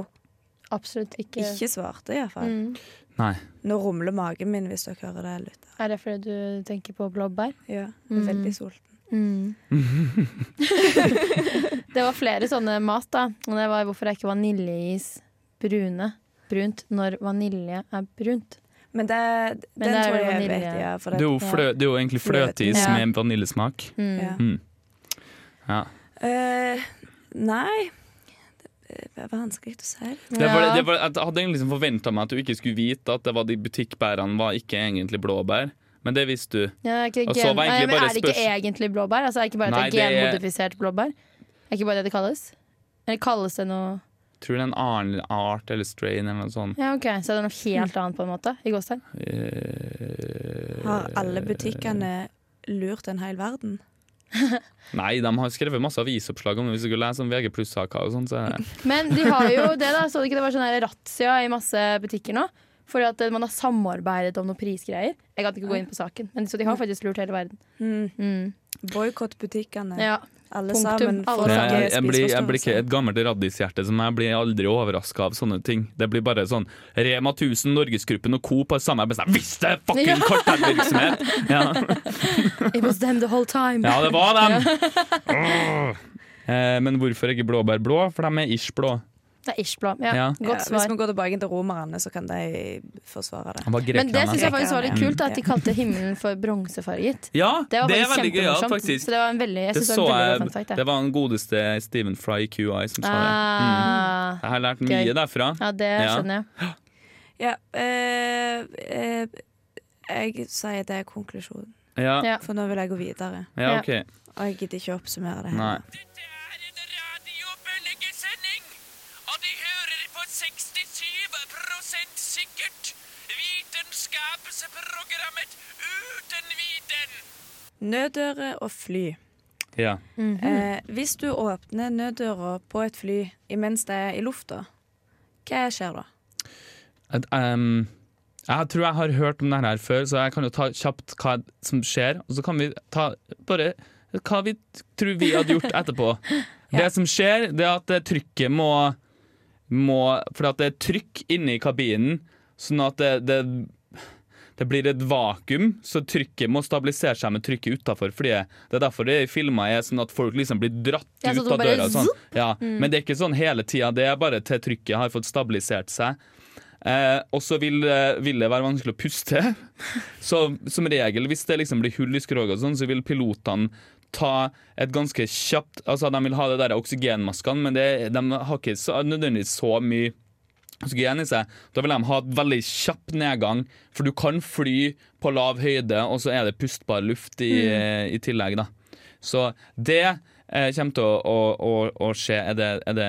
Speaker 4: Absolutt ikke.
Speaker 2: ikke svarte, iallfall.
Speaker 4: Mm.
Speaker 3: Nei.
Speaker 2: Nå rumler magen min, hvis dere hører det. Lytter.
Speaker 4: Er det fordi du tenker på blåbær?
Speaker 2: Ja,
Speaker 4: Mm.
Speaker 2: jeg er Veldig sulten.
Speaker 4: Det var flere sånne mat, da. Og det var hvorfor er ikke vaniljeis brune? Brunt når vanilje er brunt.
Speaker 2: Men det,
Speaker 4: Men
Speaker 2: den
Speaker 4: det er
Speaker 2: tror
Speaker 4: vel
Speaker 2: jeg jeg
Speaker 4: vanilje.
Speaker 2: vet. Ja, for
Speaker 3: Det
Speaker 2: det,
Speaker 3: er jo, flø, det er jo egentlig fløteis
Speaker 4: Ja.
Speaker 3: med vaniljesmak.
Speaker 2: ja.
Speaker 3: Mm. Ja.
Speaker 2: Eh, nei Det er vanskelig å si.
Speaker 3: Det var, det var, jeg hadde egentlig liksom forventa meg at du ikke skulle vite at det var de butikkbærene var ikke egentlig blåbær, men det visste du.
Speaker 4: Ja, er, ikke
Speaker 3: Og så
Speaker 4: gen...
Speaker 3: var egentlig
Speaker 4: Nei, men
Speaker 3: bare
Speaker 4: er det ikke
Speaker 3: spørs-
Speaker 4: egentlig blåbær? Altså, er det ikke bare at
Speaker 3: Nei,
Speaker 4: det er
Speaker 3: det er-
Speaker 4: genmodifisert blåbær? Er ikke bare det det kalles? Eller kalles det noe
Speaker 3: Tror det er en annen art eller strain eller noe sånt.
Speaker 4: Ja, ok, Så det er noe helt annet, på en måte? I gåstegn?
Speaker 3: Eh,
Speaker 2: Har alle butikkene lurt en hel verden?
Speaker 3: Nei, de har skrevet masse avisoppslag om det. Hvis du skulle lese om VG pluss-saker og sånn, så er det
Speaker 4: Men de har jo det, da. Så du ikke det var sånn her razzia i masse butikker nå? Fordi at eh, man har samarbeidet om noen prisgreier. Jeg kan ikke gå inn på saken, men så de har faktisk lurt hele verden.
Speaker 2: Mm.
Speaker 4: Mm.
Speaker 2: Boikott butikkene.
Speaker 4: Ja.
Speaker 2: Alle
Speaker 4: punktum.
Speaker 2: sammen.
Speaker 4: Alle
Speaker 2: for
Speaker 3: Nei,
Speaker 2: å
Speaker 4: sammen.
Speaker 3: jeg, jeg, blir, jeg blir ikke
Speaker 2: spiseforstyrrelse.
Speaker 3: Et gammelt raddishjerte som jeg blir aldri overraska av sånne ting. Det blir bare sånn Rema 1000, Norgesgruppen og Coop har samme Jeg visste det! Fucking kartellvirksomhet! Ja.
Speaker 4: It was them the whole time.
Speaker 3: ja, det var dem! Åh. Eh, Men hvorfor er ikke blåbær blå? For de er ish blå.
Speaker 4: Det er ish blå. Ja,
Speaker 3: Ja.
Speaker 4: Godt
Speaker 2: Ja, hvis
Speaker 4: svar.
Speaker 2: vi går tilbake til romerne, så kan de forsvare det.
Speaker 3: Han var
Speaker 4: Men det
Speaker 3: grekerne.
Speaker 4: syns jeg faktisk var litt
Speaker 2: Grekerne, ja.
Speaker 4: kult, da, at de kalte himmelen for bronsefarget.
Speaker 3: Ja,
Speaker 4: Det var
Speaker 3: det er
Speaker 4: faktisk
Speaker 3: veldig gøyalt,
Speaker 4: kjempemorsomt.
Speaker 3: faktisk.
Speaker 4: Så det var en veldig, jeg
Speaker 3: Det,
Speaker 4: synes det
Speaker 3: så
Speaker 4: var en veldig bra
Speaker 3: jeg,
Speaker 4: fun fact.
Speaker 3: det var den godeste Stephen Fry QI som sa det.
Speaker 4: Ah,
Speaker 3: Jeg har lært
Speaker 4: Gøy.
Speaker 3: mye derfra.
Speaker 4: Ja, det
Speaker 3: Ja.
Speaker 4: skjønner jeg.
Speaker 2: Ja, eh, eh, jeg sier det er konklusjonen,
Speaker 3: Ja,
Speaker 4: Ja.
Speaker 2: for nå vil jeg gå videre.
Speaker 3: ja ok.
Speaker 2: Og jeg gidder ikke å oppsummere det. her.
Speaker 3: Nei.
Speaker 1: Dette er en radiobølgesending, og de hører på 67 sikkert. Vitenskapsprogrammet Uten viten.
Speaker 2: Nøddører og fly.
Speaker 3: Ja.
Speaker 2: eh, hvis du åpner nøddøra på et fly imens det er i lufta, hva skjer da?
Speaker 3: Et, ehm, jeg tror jeg har hørt om dette her før, så jeg kan jo ta kjapt hva som skjer. Og så kan vi ta bare hva vi tror vi hadde gjort etterpå. Det som skjer, det er at eh, trykket må, må For at det er trykk inni kabinen, sånn at det, det, det blir et vakuum. Så trykket må stabilisere seg med trykket utafor. Det er derfor det i filmer er sånn at folk liksom blir dratt
Speaker 4: Ja, så de
Speaker 3: ut av
Speaker 4: bare Mm.
Speaker 3: døra. og Sånn. Ja, Men det er ikke sånn hele tida. Det er bare til trykket har fått stabilisert seg. Eh, og så vil, eh, vil det være vanskelig å puste. Så som regel, hvis det liksom blir hull i skroget, og sånn, så vil pilotene ta et ganske kjapt Altså, de vil ha det der oksygenmaskene, men det, de har ikke så, nødvendigvis så mye oksygen i seg. Da vil de ha et veldig kjapp nedgang, for du kan fly på lav høyde, og så er det pustbar luft i,
Speaker 4: Mm.
Speaker 3: i tillegg, da. Så det eh, kommer til å, å, å, å skje. Er det, er det,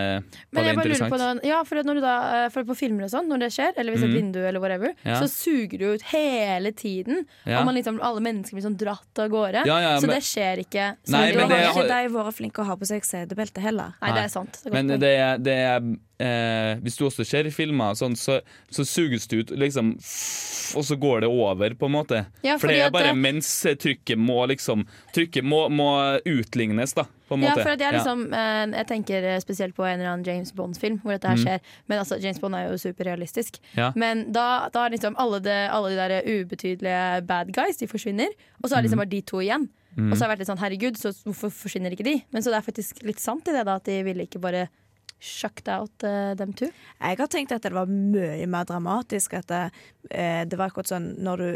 Speaker 3: var
Speaker 4: Men
Speaker 3: det
Speaker 4: jeg bare lurer
Speaker 3: interessant? Mm.
Speaker 4: på noen, ja, for, at når du da, eh, for på filmer og sånn, når det skjer, eller hvis et vindu eller whatever,
Speaker 3: Ja.
Speaker 4: så suger du ut hele tiden.
Speaker 3: Ja.
Speaker 4: Og man liksom, alle mennesker blir sånn dratt av gårde.
Speaker 3: Ja, ja,
Speaker 4: så
Speaker 3: men-
Speaker 4: det skjer ikke. Så
Speaker 3: Nei,
Speaker 4: veldig
Speaker 2: Da
Speaker 3: men det-
Speaker 4: mange.
Speaker 2: har ikke de vært flinke å ha på seg setebelte heller.
Speaker 4: Nei, det er sant. Det er godt
Speaker 3: Men
Speaker 4: poeng.
Speaker 3: det, er- det er eh, Hvis du også ser i filmer, og sånn, så, så suges det ut, liksom, og så går det over, på en måte.
Speaker 4: Ja,
Speaker 3: for
Speaker 4: fordi
Speaker 3: det er
Speaker 4: at
Speaker 3: bare
Speaker 4: det-
Speaker 3: mens trykket må liksom Trykket må, må utlignes, da, på en
Speaker 4: Ja,
Speaker 3: måte.
Speaker 4: for at jeg, liksom, eh, jeg tenker eh, spesielt på en eller annen James Bond-film hvor dette her skjer. Men altså, James Bond er jo superrealistisk.
Speaker 3: Mm. Ja.
Speaker 4: Men da, da er liksom alle de, alle de der eh, ubetydelige bad guys De forsvinner, og så er det
Speaker 3: Mm.
Speaker 4: liksom bare de to igjen. Og så har jeg vært litt sånn herregud, så hvorfor forsvinner ikke de? Men så det er faktisk litt sant i det, da, at de ville ikke bare shucked out eh, them two.
Speaker 2: Jeg har tenkt at det var mye mer dramatisk. At det, eh, det var akkurat sånn når du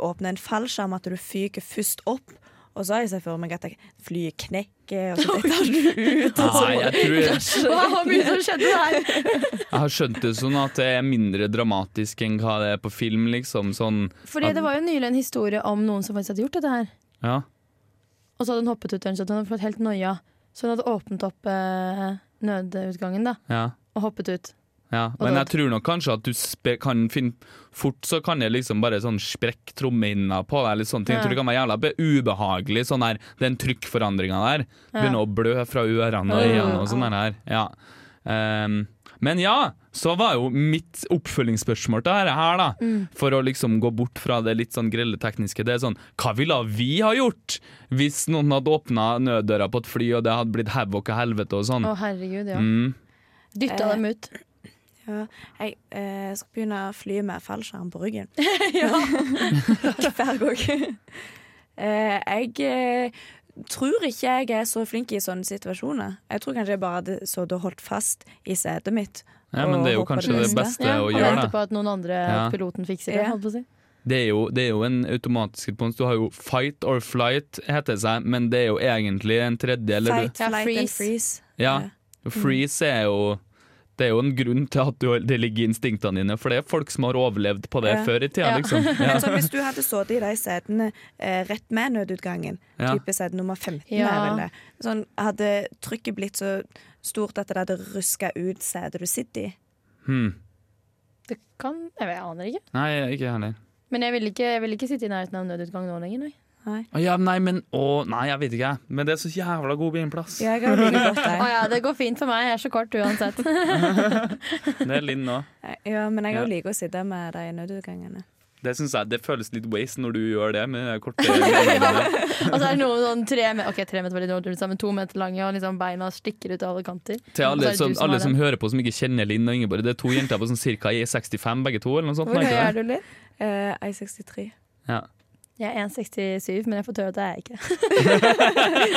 Speaker 2: åpner en fallskjerm, at du fyker først opp. Og så har jeg sett for meg at jeg- flyet knekker, og så detter du ut. Og
Speaker 3: Nei,
Speaker 2: så.
Speaker 3: jeg, tror, jeg
Speaker 4: Hva mye som skjedde der?
Speaker 3: har skjønt det sånn at det er mindre dramatisk enn hva det er på film, liksom. Sånn
Speaker 4: Fordi det var jo nylig en historie om noen som faktisk hadde gjort dette her.
Speaker 3: Ja.
Speaker 4: Og så hadde hun hoppet ut døren, så hun hadde fått helt noia. Så hun hadde åpnet opp eh, nødutgangen da,
Speaker 3: ja.
Speaker 4: og hoppet ut.
Speaker 3: Ja, men
Speaker 4: da-
Speaker 3: jeg tror nok kanskje at du spe kan finne Fort så kan det liksom bare sånn sprekke trommehinna på deg. Eller sånne ting. Jeg tror det kan være jævla be- ubehagelig, sånn der, den trykkforandringa der. Begynner å blø fra ørene og øynene og sånn der her. Ja. Ehm, men ja, så var jo mitt oppfølgingsspørsmål til dette her, da. For å liksom gå bort fra det litt sånn grelle tekniske. Det er sånn Hva ville vi ha gjort hvis noen hadde åpna nøddøra på et fly, og det hadde blitt havoc og helvete og sånn?
Speaker 4: Å, herregud, ja.
Speaker 3: Mm.
Speaker 4: Dytta
Speaker 2: Eh.
Speaker 4: dem ut.
Speaker 2: Ja, jeg eh, skal begynne å fly med fallskjerm på ryggen. Hver gang. eh, jeg eh, tror ikke jeg er så flink i sånne situasjoner. Jeg tror kanskje jeg bare hadde sittet og holdt fast i setet mitt.
Speaker 3: Ja, men det er jo kanskje det
Speaker 2: neste.
Speaker 3: beste
Speaker 4: Ja,
Speaker 3: å
Speaker 4: og
Speaker 3: gjøre,
Speaker 4: vente
Speaker 3: da.
Speaker 4: på at noen andre
Speaker 3: Ja.
Speaker 4: piloten fikser det.
Speaker 2: Ja.
Speaker 4: Holdt på å si.
Speaker 3: Det er, jo, det er jo en automatisk respons. Du har jo fight or flight, heter det seg, men det er jo egentlig en tredje eller
Speaker 2: Fight,
Speaker 4: Ja,
Speaker 2: flight and
Speaker 4: freeze.
Speaker 2: freeze.
Speaker 3: Ja. Freeze er jo Det er jo en grunn til at du, det ligger i instinktene dine, for det er folk som har overlevd på det
Speaker 2: Ja.
Speaker 3: før i tida,
Speaker 4: Ja.
Speaker 3: liksom. Ja.
Speaker 2: Men sånn, hvis du hadde sittet i de setene eh, rett med nødutgangen,
Speaker 3: Ja.
Speaker 2: type sete nummer 15,
Speaker 4: Ja.
Speaker 2: er vel det. Sånn, hadde trykket blitt så stort at det hadde ruska ut setet du sitter i?
Speaker 3: Hmm.
Speaker 4: Det kan Jeg, vet, jeg aner ikke.
Speaker 3: Nei, ikke jeg heller.
Speaker 4: Men jeg vil ikke, jeg vil ikke sitte i nærheten av en nødutgang nå lenger, nei.
Speaker 3: Å ja, nei, men å, nei, jeg vet ikke, jeg. Men det er så jævla god beinplass.
Speaker 2: Ja, jeg har like godt
Speaker 4: Å
Speaker 2: det.
Speaker 4: ja, det går fint for meg. Jeg er så kort uansett.
Speaker 3: Det er Linn òg.
Speaker 2: Ja, men jeg
Speaker 3: Ja.
Speaker 2: òg liker å sitte med de nødutgangene.
Speaker 3: Det syns jeg det føles litt waste når du gjør det med de korte beina.
Speaker 4: Og så er det noen sånn tre, me ok, tre meter veldig dårlig, liksom, men to meter lange, og liksom beina stikker ut av alle kanter.
Speaker 3: Til
Speaker 4: Og så
Speaker 3: alle
Speaker 4: er det
Speaker 3: som,
Speaker 4: Altså, du
Speaker 3: alle
Speaker 4: har
Speaker 3: som
Speaker 4: det.
Speaker 3: hører på som ikke kjenner Linn og Ingeborg, det er to jenter på sånn cirka i 65 begge to, eller noe sånt.
Speaker 4: Hvor
Speaker 3: nei,
Speaker 4: høy
Speaker 3: ikke
Speaker 4: er du, Linn?
Speaker 2: Eh, I63.
Speaker 3: det? Ja.
Speaker 4: Jeg er 1,67, men jeg får høre at det er jeg ikke.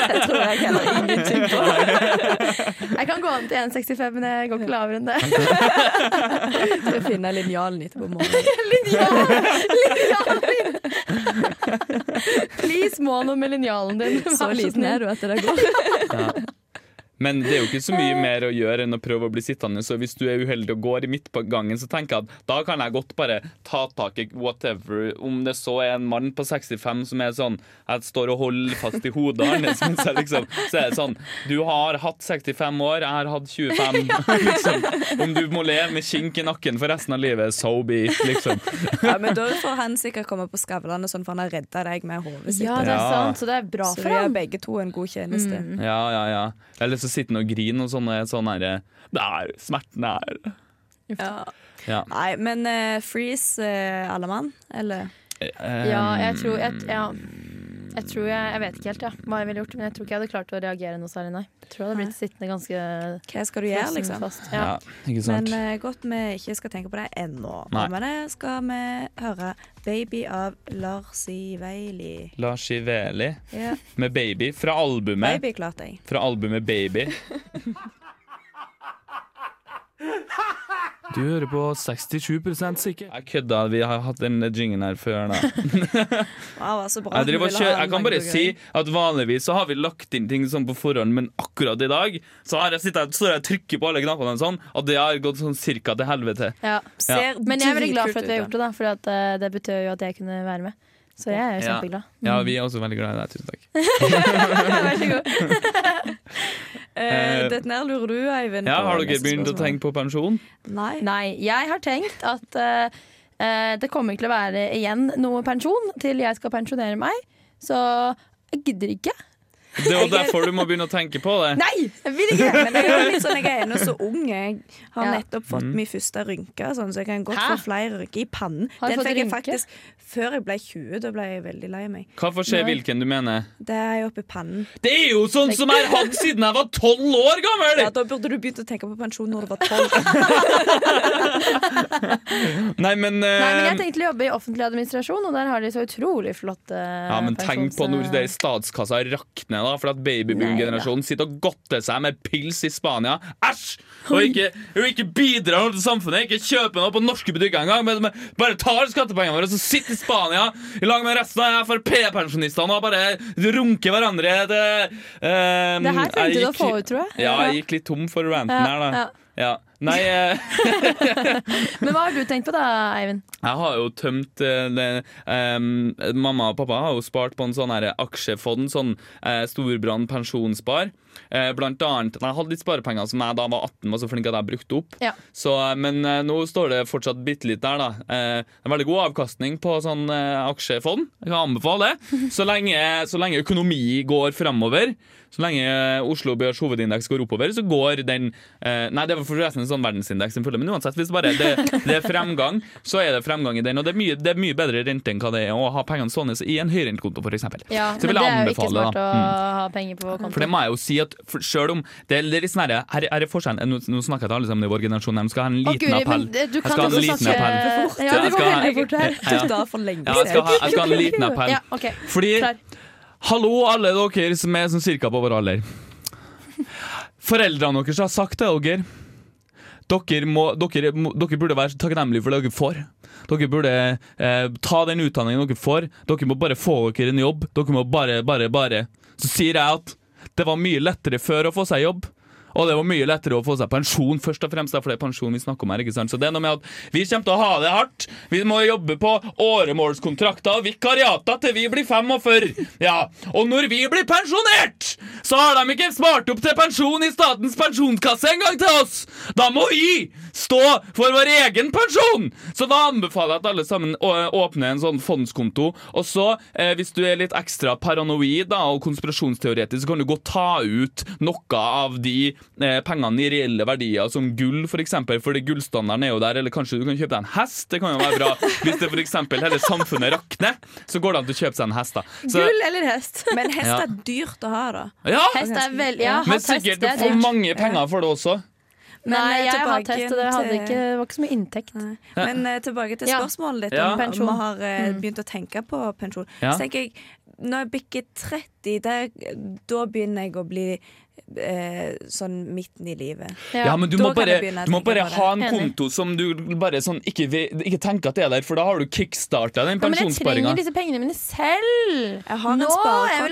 Speaker 2: Jeg tror jeg heller ingenting på.
Speaker 4: Jeg kan gå an til 1,65, men jeg går ikke lavere enn det.
Speaker 2: Skal finne linjalen etterpå på morgenen.
Speaker 4: Linjal! Linjalen din! Please, må noe med linjalen din.
Speaker 2: Så
Speaker 4: Vær
Speaker 2: liten
Speaker 4: snill.
Speaker 2: er du at det går.
Speaker 3: Men det er jo ikke så
Speaker 2: Eh.
Speaker 3: mye mer å gjøre enn å prøve å bli sittende. Så hvis du er uheldig og går i midt på gangen, så tenker jeg at da kan jeg godt bare ta tak i whatever. Om det så er en mann på 65 som er sånn Jeg står og holder fast i hodet hans, mens jeg liksom Så er det sånn Du har hatt 65 år, jeg har hatt 25. Liksom. Om du må leve med kink i nakken for resten av livet, so be it, liksom.
Speaker 2: Ja, men da får han sikkert komme på Skavlan, og sånn, for han har redda deg med hodet sitt.
Speaker 4: Ja, det er
Speaker 3: Ja.
Speaker 4: sant, så det er bra
Speaker 2: så
Speaker 4: for
Speaker 2: vi har
Speaker 4: ham.
Speaker 2: begge to en god tjeneste.
Speaker 3: Ja, ja, ja. Eller så sitter han og griner og sånn og er sånn herre Der, smerten er
Speaker 2: Ja.
Speaker 3: Ja.
Speaker 2: Nei, men eh, freeze eh, alle mann, eller?
Speaker 4: Ja,
Speaker 3: Mm.
Speaker 4: jeg tror jeg, ja. jeg tror jeg, jeg vet ikke helt ja, hva jeg ville gjort, men jeg tror ikke jeg hadde klart å reagere noe særlig, nei. Jeg tror jeg hadde blitt sittende ganske
Speaker 2: Hva skal du gjøre,
Speaker 4: frossen
Speaker 2: liksom?
Speaker 4: fast. Ja.
Speaker 3: ikke
Speaker 2: Men
Speaker 3: sant.
Speaker 2: eh, godt vi ikke skal tenke på det ennå.
Speaker 3: Nei.
Speaker 2: Men det skal vi høre 'Baby' av Lars Iveili.
Speaker 3: Lars Iveli
Speaker 2: Ja,
Speaker 3: med Baby fra albumet.
Speaker 2: 'Baby' klarte jeg.
Speaker 3: Fra albumet Baby. Du hører på 67 sikker. Jeg kødda, vi har hatt den jingen her før. Da.
Speaker 2: Wow, så bra.
Speaker 3: Jeg,
Speaker 2: at vi
Speaker 3: driver, og
Speaker 2: ville ha
Speaker 3: kjører- jeg kan
Speaker 2: mange
Speaker 3: bare
Speaker 2: gode
Speaker 3: si
Speaker 2: greier.
Speaker 3: at vanligvis så har vi lagt inn ting sånn på forhånd, men akkurat i dag så har jeg sittet, står jeg og trykker på alle knappene og sånn, og det har gått sånn cirka til helvete.
Speaker 4: Ja.
Speaker 2: Ser
Speaker 4: Men jeg er veldig glad
Speaker 2: dritkult
Speaker 4: for at vi har
Speaker 2: ut,
Speaker 4: gjort det, da, for at, eh, det betød jo at jeg kunne være med. Så jeg er jo
Speaker 3: Ja.
Speaker 4: kjempeglad.
Speaker 3: Ja, vi er også veldig glad i deg. Tusen takk.
Speaker 4: Vær så god.
Speaker 2: Eh, Dette her lurer du, Eivind.
Speaker 3: Ja,
Speaker 2: på
Speaker 3: Har dere
Speaker 2: neste
Speaker 3: begynt å
Speaker 2: spørsmål.
Speaker 3: tenke på pensjon?
Speaker 2: Nei.
Speaker 4: Nei, jeg har tenkt at eh, eh, det kommer til å være igjen noe pensjon til jeg skal pensjonere meg, så jeg gidder ikke.
Speaker 3: Det er jo derfor du må begynne å tenke på det.
Speaker 4: Nei! Jeg vil ikke!
Speaker 2: Men jeg er jo litt sånn, jeg er ennå så ung. Jeg har
Speaker 4: Ja.
Speaker 2: nettopp fått
Speaker 3: Mm.
Speaker 2: min første rynke, sånn, så jeg kan godt
Speaker 4: Hæ?
Speaker 2: få flere rynker i pannen.
Speaker 4: Har du
Speaker 2: Den
Speaker 4: fått
Speaker 2: fikk jeg
Speaker 4: rynke?
Speaker 2: faktisk før jeg ble 20. Da ble jeg veldig lei meg.
Speaker 3: Hva får skje
Speaker 4: Nei.
Speaker 3: hvilken du mener?
Speaker 2: Det er jo oppi pannen.
Speaker 3: Det er jo sånn som jeg har hatt siden jeg var tolv år gammel!
Speaker 2: Ja, da burde du begynt å tenke på pensjon når du var tolv.
Speaker 3: Nei, men, eh,
Speaker 4: Nei, men jeg tenkte å jobbe i offentlig administrasjon, og der har de så utrolig eh, flotte
Speaker 3: ja, men tenk på når det i
Speaker 4: pensjons...
Speaker 3: statskassa rakner, da, for at babyboom-generasjonen sitter og godter seg med pils i Spania. Æsj! Og ikke, og ikke bidrar noe til samfunnet, ikke kjøper noe på norske butikker engang, men men bare tar skattepengene våre og så sitter i Spania i lag med resten av Frp-pensjonistene og bare runker hverandre til eh,
Speaker 4: Det her trengte
Speaker 3: jeg
Speaker 4: du å
Speaker 3: gikk-
Speaker 4: få ut, tror jeg.
Speaker 3: Ja, jeg gikk litt tom for ranten
Speaker 4: Ja,
Speaker 3: her, da. Ja. Nei, eh,
Speaker 4: Men hva har du tenkt på da, Eivind?
Speaker 3: jeg har jo tømt eh, det, em, Mamma og pappa har jo spart på en sånn her aksjefond, sånn eh, Storbrann pensjonsspar. Eh, blant annet Jeg hadde litt sparepenger som jeg da var 18, var så flink at jeg brukte opp.
Speaker 4: Ja.
Speaker 3: Så, eh, men eh, nå står det fortsatt bitte litt der, da. Eh, det er veldig god avkastning på sånn eh, aksjefond. Jeg kan anbefale det. Så lenge, så lenge økonomi går framover, så lenge eh, Oslo Børs hovedindeks går oppover, så går den eh, Nei, det var forresten en sånn verdensindeks den følger, men uansett, hvis bare det, det er fremgang, så er det fremgang i den. Og det er mye, det er mye bedre rente enn hva det er å ha pengene sånne i en høyrentekonto, f.eks.
Speaker 4: Ja,
Speaker 3: Så
Speaker 4: men det er jo
Speaker 3: jeg vil
Speaker 4: ikke
Speaker 3: anbefale,
Speaker 4: smart
Speaker 3: da.
Speaker 4: å
Speaker 3: Mm.
Speaker 4: ha penger på konto.
Speaker 3: For det må jeg jo si at for- selv om det er litt sånn her, her, her er forskjellen Nå, nå snakker jeg til alle sammen i vår generasjon her, de skal ha en
Speaker 4: Å,
Speaker 3: liten
Speaker 4: Guri,
Speaker 3: appell.
Speaker 4: men det- Du
Speaker 3: Jeg
Speaker 4: kan
Speaker 3: skal ha en
Speaker 4: også
Speaker 3: liten
Speaker 4: snakke
Speaker 3: appell.
Speaker 4: Ja, det går
Speaker 3: Jeg skal ha-
Speaker 4: veldig fort her.
Speaker 3: Ja, ja.
Speaker 2: Tutta for lenge
Speaker 3: Ja, jeg skal, ha, jeg skal ha en liten appell.
Speaker 4: Ja, ok.
Speaker 3: Fordi
Speaker 4: Klar.
Speaker 3: Hallo, alle dere som er sånn cirka på vår alder. Foreldrene deres har sagt til dere dere, må, dere, må, dere burde være takknemlige for det dere får. Dere burde eh, ta den utdanningen dere får. Dere må bare få dere en jobb. Dere må bare, bare, bare. Så sier jeg at det var mye lettere før å få seg jobb. Og det var mye lettere å få seg pensjon, først og fremst. For det er pensjon vi snakker om her, ikke sant? Så det er noe med at vi kommer til å ha det hardt. Vi må jobbe på åremålskontrakter og vikariater til vi blir 45. Ja. Og når vi blir pensjonert, så har de ikke spart opp til pensjon i Statens pensjonskasse engang til oss! Da må vi stå for vår egen pensjon! Så da anbefaler jeg at alle sammen å- åpner en sånn fondskonto. Og så, eh, hvis du er litt ekstra paranoid da, og konspirasjonsteoretisk, så kan du gå og ta ut noe av de eh, pengene i reelle verdier, som gull f.eks., for eksempel, fordi gullstandarden er jo der. Eller kanskje du kan kjøpe deg en hest, det kan jo være bra. Hvis det f.eks. hele samfunnet rakner, så går det an til å kjøpe seg en hest, da. Så,
Speaker 4: Gull eller hest?
Speaker 2: Men hest
Speaker 3: Ja.
Speaker 2: er dyrt å ha, da.
Speaker 3: ja,
Speaker 4: Hest er vel Ja, hatt
Speaker 3: men
Speaker 4: hest, det
Speaker 3: sikkert du
Speaker 4: er
Speaker 3: får
Speaker 4: dyrt.
Speaker 3: mange penger for det også.
Speaker 2: Men,
Speaker 4: Nei,
Speaker 2: eh,
Speaker 4: jeg har hatt
Speaker 2: tilbake
Speaker 4: hest, og det hadde
Speaker 2: til-
Speaker 4: ikke, det var ikke så mye inntekt.
Speaker 2: Nei. Men eh, tilbake til
Speaker 4: Ja.
Speaker 2: spørsmålet ditt
Speaker 3: Ja.
Speaker 2: om pensjon.
Speaker 4: Pensjon. Mm.
Speaker 2: Vi har eh, begynt å tenke på pensjon.
Speaker 3: Ja.
Speaker 2: Så tenker jeg, når jeg bikker 30, det, da begynner jeg å bli eh, sånn midten i livet.
Speaker 3: Ja, men du
Speaker 2: Da
Speaker 3: må
Speaker 2: kan jeg
Speaker 3: bare,
Speaker 2: begynne å
Speaker 3: du må
Speaker 2: tenke
Speaker 3: bare
Speaker 2: på det.
Speaker 3: ha en
Speaker 4: Enig.
Speaker 3: konto som du bare sånn ikke, ve- ikke tenker at det er der, for da har du kickstarta
Speaker 4: Ja, men
Speaker 3: den
Speaker 4: jeg
Speaker 3: pensjonssparinga.
Speaker 4: trenger disse pengene mine selv!
Speaker 2: Jeg har en
Speaker 4: Nå! Jeg vil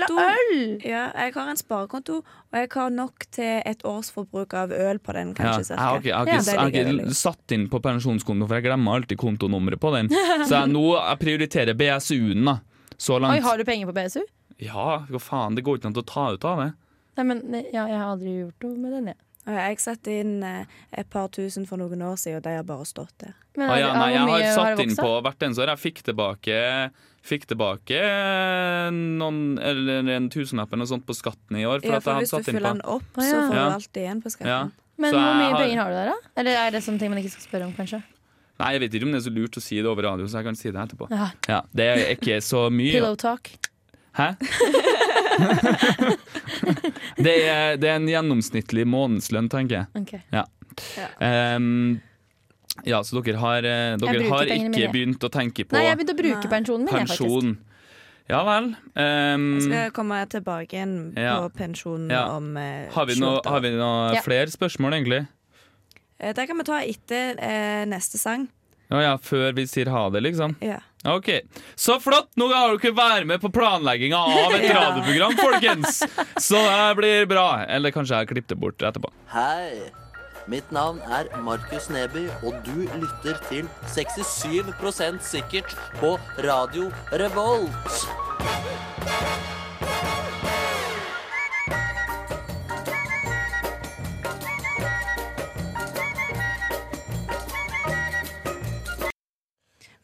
Speaker 2: sparekonto.
Speaker 4: ha øl!
Speaker 2: Ja, jeg har en sparekonto, og jeg har nok til et års forbruk av øl på den,
Speaker 3: Ja, Ah,
Speaker 2: kanskje.
Speaker 3: jeg
Speaker 2: cirka.
Speaker 3: har ikke, jeg har
Speaker 4: Ja,
Speaker 3: ikke,
Speaker 2: det
Speaker 3: jeg har
Speaker 2: ligger
Speaker 3: ikke
Speaker 2: veldig.
Speaker 3: satt inn på pensjonskonto, for jeg glemmer alltid kontonummeret på den. Så jeg, nå jeg prioriterer BSU-en, da. Så
Speaker 4: Oi,
Speaker 3: langt.
Speaker 4: har du penger på BSU?
Speaker 3: Ja, hva faen, det går ikke an å ta ut av det.
Speaker 4: Nei, men ne- ja, jeg har aldri gjort noe med den, jeg.
Speaker 2: Og Jeg satte inn eh, et par tusen for noen år siden, og de har bare stått der.
Speaker 4: Men
Speaker 3: Ah, ja,
Speaker 4: har-
Speaker 3: nei,
Speaker 4: hvor
Speaker 3: jeg har
Speaker 4: mye
Speaker 3: satt
Speaker 4: det
Speaker 3: inn
Speaker 4: vokst
Speaker 3: på
Speaker 4: av?
Speaker 3: hvert eneste år. Jeg fikk tilbake Fikk tilbake eh, noen, eller en tusenlapp eller noe sånt på skatten i år. For
Speaker 2: Ja,
Speaker 3: at jeg
Speaker 2: for
Speaker 3: hadde
Speaker 2: hvis du
Speaker 3: satt inn
Speaker 2: fyller
Speaker 3: på
Speaker 2: den opp, så
Speaker 4: Å, ja.
Speaker 2: får
Speaker 3: Ja.
Speaker 2: du alt igjen på
Speaker 3: ja.
Speaker 2: skatten.
Speaker 4: Men
Speaker 3: Så
Speaker 4: hvor
Speaker 3: jeg
Speaker 4: mye penger har du der, da? Eller er det sånne ting man ikke skal spørre om, kanskje?
Speaker 3: Nei, Jeg vet ikke om det er så lurt å si det over radio, så jeg kan si det etterpå.
Speaker 4: Ja.
Speaker 3: Ja, Det er ikke så mye.
Speaker 4: Pillow talk.
Speaker 3: Hæ? det, er, det er en gjennomsnittlig månedslønn, tenker jeg.
Speaker 4: Ok.
Speaker 3: Ehm, ja, så dere har, eh, dere
Speaker 4: bruker
Speaker 3: har
Speaker 4: pengene
Speaker 3: ikke
Speaker 4: mine, jeg.
Speaker 3: begynt å tenke på
Speaker 4: Nei, jeg begynte å bruke
Speaker 2: Nei.
Speaker 4: pensjonen min, jeg, faktisk.
Speaker 3: pensjon. Ja vel. ehm,
Speaker 2: Jeg skal komme tilbake igjen
Speaker 3: Ja.
Speaker 2: på pensjonen
Speaker 3: Ja.
Speaker 2: om eh,
Speaker 3: har vi noe,
Speaker 2: 28 år.
Speaker 3: har vi noe
Speaker 4: Ja.
Speaker 3: flere spørsmål, egentlig?
Speaker 2: Eh, Det kan vi ta etter eh, neste sang.
Speaker 3: Å ja, før vi sier ha det, liksom.
Speaker 2: Ja.
Speaker 3: Ok, Så flott! Nå har dere være med på planlegginga av et
Speaker 2: Ja.
Speaker 3: radioprogram, folkens! Så det blir bra. Eller kanskje jeg klipper det bort etterpå.
Speaker 6: Hei! Mitt navn er Markus Neby, og du lytter til 67 sikkert på Radio Revolt.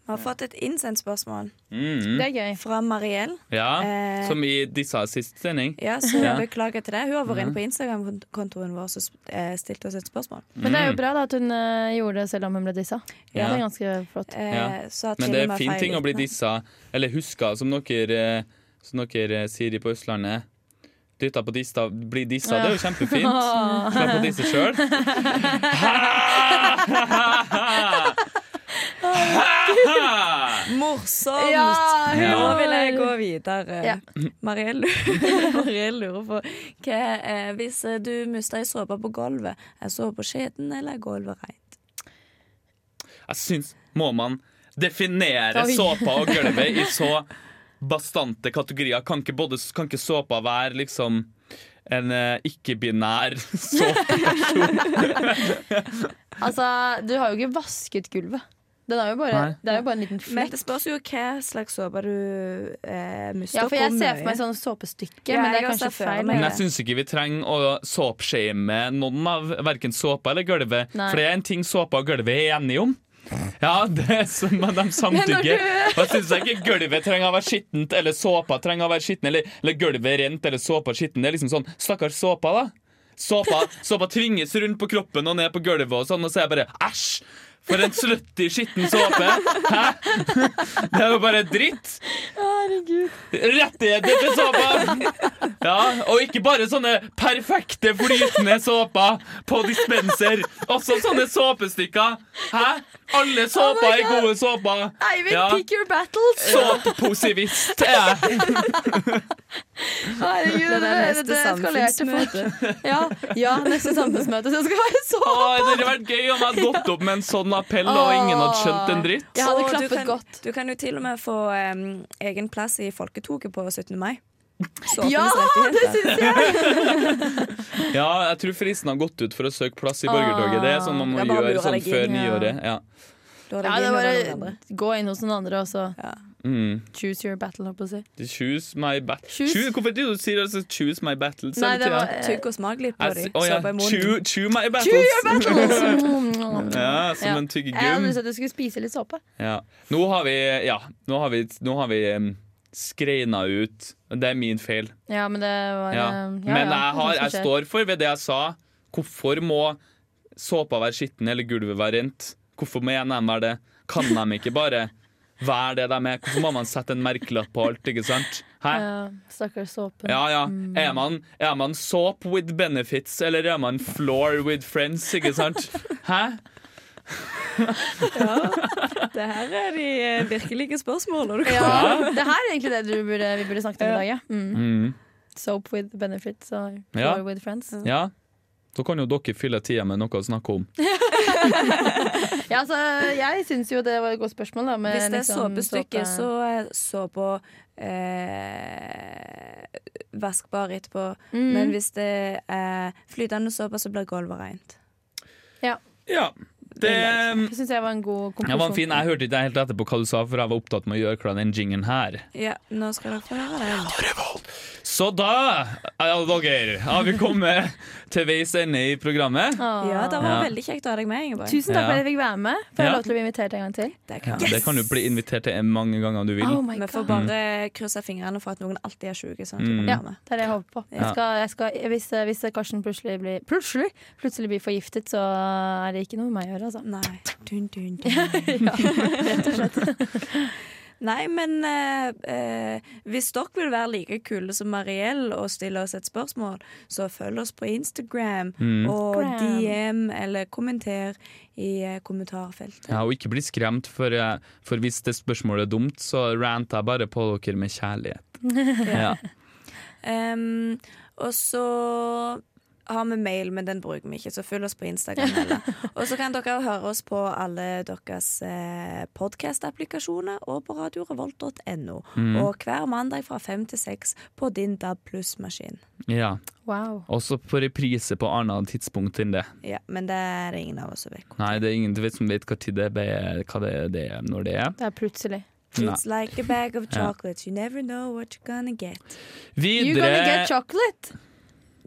Speaker 2: Vi har fått et innsendt spørsmål
Speaker 3: Mhm.
Speaker 4: Det er gøy.
Speaker 2: fra Mariell.
Speaker 3: Ja,
Speaker 2: Mm. Eh,
Speaker 3: som i disse siste sending.
Speaker 2: Ja, så
Speaker 3: Ja.
Speaker 2: Beklager til det. Hun har vært inne på Instagram-kontoen vår og eh, stilt oss et spørsmål.
Speaker 4: Men det er jo bra da at hun eh, gjorde det selv om hun ble dissa.
Speaker 3: Mm. Ja.
Speaker 4: Det er ganske flott.
Speaker 2: Eh,
Speaker 3: Ja.
Speaker 2: så at
Speaker 3: Men
Speaker 2: til
Speaker 3: det
Speaker 2: og
Speaker 3: er
Speaker 2: med
Speaker 3: fin
Speaker 2: feil
Speaker 3: ting å bli
Speaker 2: utenat.
Speaker 3: dissa, eller huska, som dere, eh, som dere eh, sier i på Østlandet. Dytta på dista, bli dissa, det er jo kjempefint. Slapp å disse sjøl.
Speaker 2: Morsomt!
Speaker 4: Ja,
Speaker 3: Ja.
Speaker 2: Nå vil jeg gå videre.
Speaker 4: Ja.
Speaker 2: Mariell Mariell lurer på hva eh, Hvis eh, du mister ei såpe på gulvet, er såpa skitten eller er gulvet reint?
Speaker 3: Jeg syns må man definere
Speaker 4: Oi.
Speaker 3: såpa og gulvet i så bastante kategorier. Kan ikke, både, kan ikke såpa være liksom en eh, ikke-binær såpeperson.
Speaker 4: Altså, du har jo ikke vasket gulvet. Den er jo bare,
Speaker 3: Nei.
Speaker 4: det er jo bare en liten
Speaker 2: Men
Speaker 4: flekk.
Speaker 2: det spørs jo hva slags såpe du eh, mister.
Speaker 4: Ja, for jeg
Speaker 2: hvor
Speaker 4: ser for
Speaker 2: mye.
Speaker 4: meg sånn såpestykke,
Speaker 2: Ja,
Speaker 4: men det
Speaker 2: jeg
Speaker 4: er
Speaker 2: også
Speaker 4: kanskje
Speaker 2: ser for
Speaker 4: feil.
Speaker 2: meg
Speaker 3: Men jeg syns ikke vi trenger å såpeshame noen av verken såpa eller gulvet.
Speaker 4: Nei.
Speaker 3: For det er en ting såpa og gulvet er enige om. Ja, det er som at de samtykker. Og jeg syns ikke gulvet trenger å være skittent, eller såpa trenger å være skitten, eller, eller gulvet rent, eller såpa skitten. Det er liksom sånn Stakkars såpa, da. Såpa, såpa tvinges rundt på kroppen og ned på gulvet, og sånn, og så er jeg bare æsj! For en slutty, skitten såpe! Hæ? Det er jo bare dritt! Rettigheter til såpa! Ja, og ikke bare sånne perfekte flytende såper på dispenser. Også sånne såpestykker. Hæ? Alle
Speaker 4: Oh
Speaker 3: såper er gode såper.
Speaker 4: Eivind,
Speaker 3: Ja.
Speaker 4: pick your battles!
Speaker 3: Såpeposivist er jeg.
Speaker 4: Herregud,
Speaker 2: Det er neste
Speaker 4: eskalerte fort. Ja, ja, neste samfunnsmøte så skal det være så
Speaker 3: Å, Det hadde vært gøy om jeg hadde gått opp med en sånn appell, og ingen hadde skjønt en dritt.
Speaker 4: Jeg hadde
Speaker 2: Og
Speaker 4: klappet
Speaker 2: du kan,
Speaker 4: godt.
Speaker 2: Du kan jo til og med få em, egen plass i folketoget på 17. mai. Såpenes
Speaker 4: Ja, det
Speaker 2: rettigheter.
Speaker 4: syns jeg!
Speaker 3: Ja, jeg tror fristen har gått ut for å søke plass i borgertoget. Det er sånn man må
Speaker 4: Ah,
Speaker 2: Det er bare å
Speaker 3: gjøre
Speaker 2: lure
Speaker 3: sånn
Speaker 2: deg inn,
Speaker 3: før
Speaker 4: ja.
Speaker 3: nyåret. Ja.
Speaker 2: Da er det
Speaker 4: Ja,
Speaker 2: din
Speaker 4: det
Speaker 2: og
Speaker 4: er
Speaker 2: da er det andre.
Speaker 4: bare gå inn hos noen andre og så
Speaker 3: Mm.
Speaker 4: choose your battle, holdt på å si.
Speaker 3: Choose my battle
Speaker 4: Choose-
Speaker 3: choose. Hvorfor sier du altså 'choose my battle'?
Speaker 4: Nei, det var eh,
Speaker 2: Tygg og smak litt på
Speaker 3: Jeg
Speaker 2: dem.
Speaker 3: s- Altså, Å ja.
Speaker 2: Såpe i munnen.
Speaker 3: Chew, chew my
Speaker 4: Chew your
Speaker 3: battles!
Speaker 4: battles!
Speaker 3: Ja, som
Speaker 4: Ja.
Speaker 3: en
Speaker 4: Jeg hadde
Speaker 3: tyggegum.
Speaker 4: lyst til at du skulle spise litt såpe.
Speaker 3: Ja. Nå har vi, ja, nå har vi, nå har vi em, skreina ut Det er min feil.
Speaker 4: Ja, men det var
Speaker 3: Ja.
Speaker 4: eh, ja,
Speaker 3: Men
Speaker 4: ja,
Speaker 3: jeg,
Speaker 4: sånt
Speaker 3: har, jeg
Speaker 4: som skjer.
Speaker 3: står for ved det jeg sa. Hvorfor må såpa være skitten eller gulvet være rent? Hvorfor må NM være det? Kan de ikke bare være det de er? Hvorfor må man sette en merkelapp på alt, ikke sant? Hæ?
Speaker 4: Ja, Mm. Stakkars såpen.
Speaker 3: Ja, ja. Er man, er man soap with benefits, eller er man floor with friends, ikke sant? Hæ?
Speaker 2: Det her er de eh, virkelige spørsmålene du kan
Speaker 4: Ja, det her er egentlig det du burde, vi burde snakket om i dag. Ja. Mm.
Speaker 3: Mm.
Speaker 4: Soap with benefits og
Speaker 3: Ja.
Speaker 4: floor with friends.
Speaker 2: Mm.
Speaker 3: Ja. Da kan jo dere fylle tida med noe å snakke om.
Speaker 4: Ja, altså, jeg syns jo det var et godt spørmål. Da, med
Speaker 2: Hvis det er
Speaker 4: liksom
Speaker 2: såpestykke,
Speaker 4: såpe-
Speaker 2: så eh, såpe eh, Vaskbar etterpå.
Speaker 4: Mm.
Speaker 2: Men hvis det er flytende såpe, så blir gulvet rent.
Speaker 3: Ja. Det
Speaker 4: Det syns jeg var en god konklusjon.
Speaker 3: ja, var en fin. Jeg hørte ikke helt etterpå hva du sa, for jeg var opptatt med å gjøre klar den jingen her.
Speaker 2: Ja, nå skal dere få høre det.
Speaker 3: Så da, alle dere, har vi kommet til veis ende i programmet.
Speaker 4: Åh.
Speaker 2: Ja, det var
Speaker 3: Ja.
Speaker 2: veldig kjekt å ha deg med, Ingeborg.
Speaker 4: Ah. Tusen takk for at
Speaker 3: Ja.
Speaker 4: jeg fikk være med. Får jeg
Speaker 3: Ja.
Speaker 4: lov til å bli invitert en gang til?
Speaker 2: Det
Speaker 3: Ja,
Speaker 2: kan-
Speaker 3: Det kan du bli invitert til mange ganger om du vil.
Speaker 4: Oh my
Speaker 2: Vi får
Speaker 4: God.
Speaker 2: bare krysse fingrene for at noen alltid er sjuke. Sånn at de
Speaker 3: Mm.
Speaker 2: kan
Speaker 4: Ja,
Speaker 2: være med.
Speaker 4: det er det jeg håper på. Jeg
Speaker 3: Ja.
Speaker 4: skal, jeg skal, hvis, hvis Karsten plutselig blir, plutselig, plutselig blir forgiftet, så er det ikke noe med meg å gjøre, altså.
Speaker 2: sånn, Nei. Dun, dun, dun. ja, rett og slett. Nei, men eh, eh, hvis dere vil være like kule som Mariell og stille oss et spørsmål, så følg oss på Instagram og
Speaker 4: Gram.
Speaker 2: DM eller kommenter i eh, kommentarfeltet.
Speaker 3: Ja, og ikke bli skremt, for, eh, for hvis det spørsmålet er dumt, så ranter jeg bare på dere med kjærlighet. Ja.
Speaker 2: Em, og så har vi mail, men den bruker vi ikke, så følg oss på Instagram heller. Og så kan dere høre oss på alle deres eh, podcast-applikasjoner og på radiorevolt.no.
Speaker 4: Mm.
Speaker 2: Og hver mandag fra fem til seks på din DAB pluss-maskin.
Speaker 3: ja.
Speaker 4: Wow.
Speaker 3: Også på reprise på annet tidspunkt enn det.
Speaker 2: Ja, men det er det ingen av oss som vet. hvor.
Speaker 3: Nei, det er ingen du vet som vet hva tid det er, hva det er, det er når det er.
Speaker 4: Det er plutselig.
Speaker 2: It's like a bag of chocolates. You never know what you're gonna get.
Speaker 4: You gonna get
Speaker 3: Videre
Speaker 4: chocolate!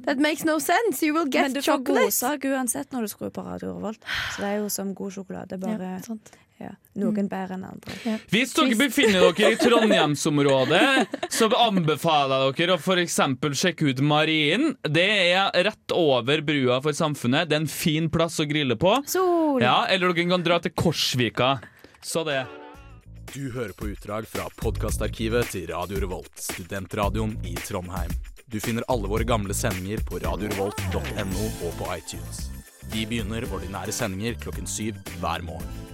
Speaker 4: That makes no sense! You will
Speaker 2: Men
Speaker 4: get
Speaker 2: du får
Speaker 4: chocolate!
Speaker 2: godsak uansett når du skrur på Radio Revolt. Så det er jo som god sjokolade, bare
Speaker 4: Ja, Mm. sant.
Speaker 2: ja, noen bedre enn andre.
Speaker 3: Hvis dere befinner dere i Trondheimsområdet, så anbefaler jeg dere å for eksempel sjekke ut Marien. Det er rett over brua for Samfunnet. Det er en fin plass å grille på.
Speaker 4: Sol!
Speaker 3: Ja, Eller dere kan dra til Korsvika. Så det.
Speaker 8: Du hører på utdrag fra podkastarkivet til Radio Revolt, studentradioen i Trondheim. Du finner alle våre gamle sendinger på radiorevolt.no og på iTunes. Vi begynner ordinære sendinger klokken syv hver morgen.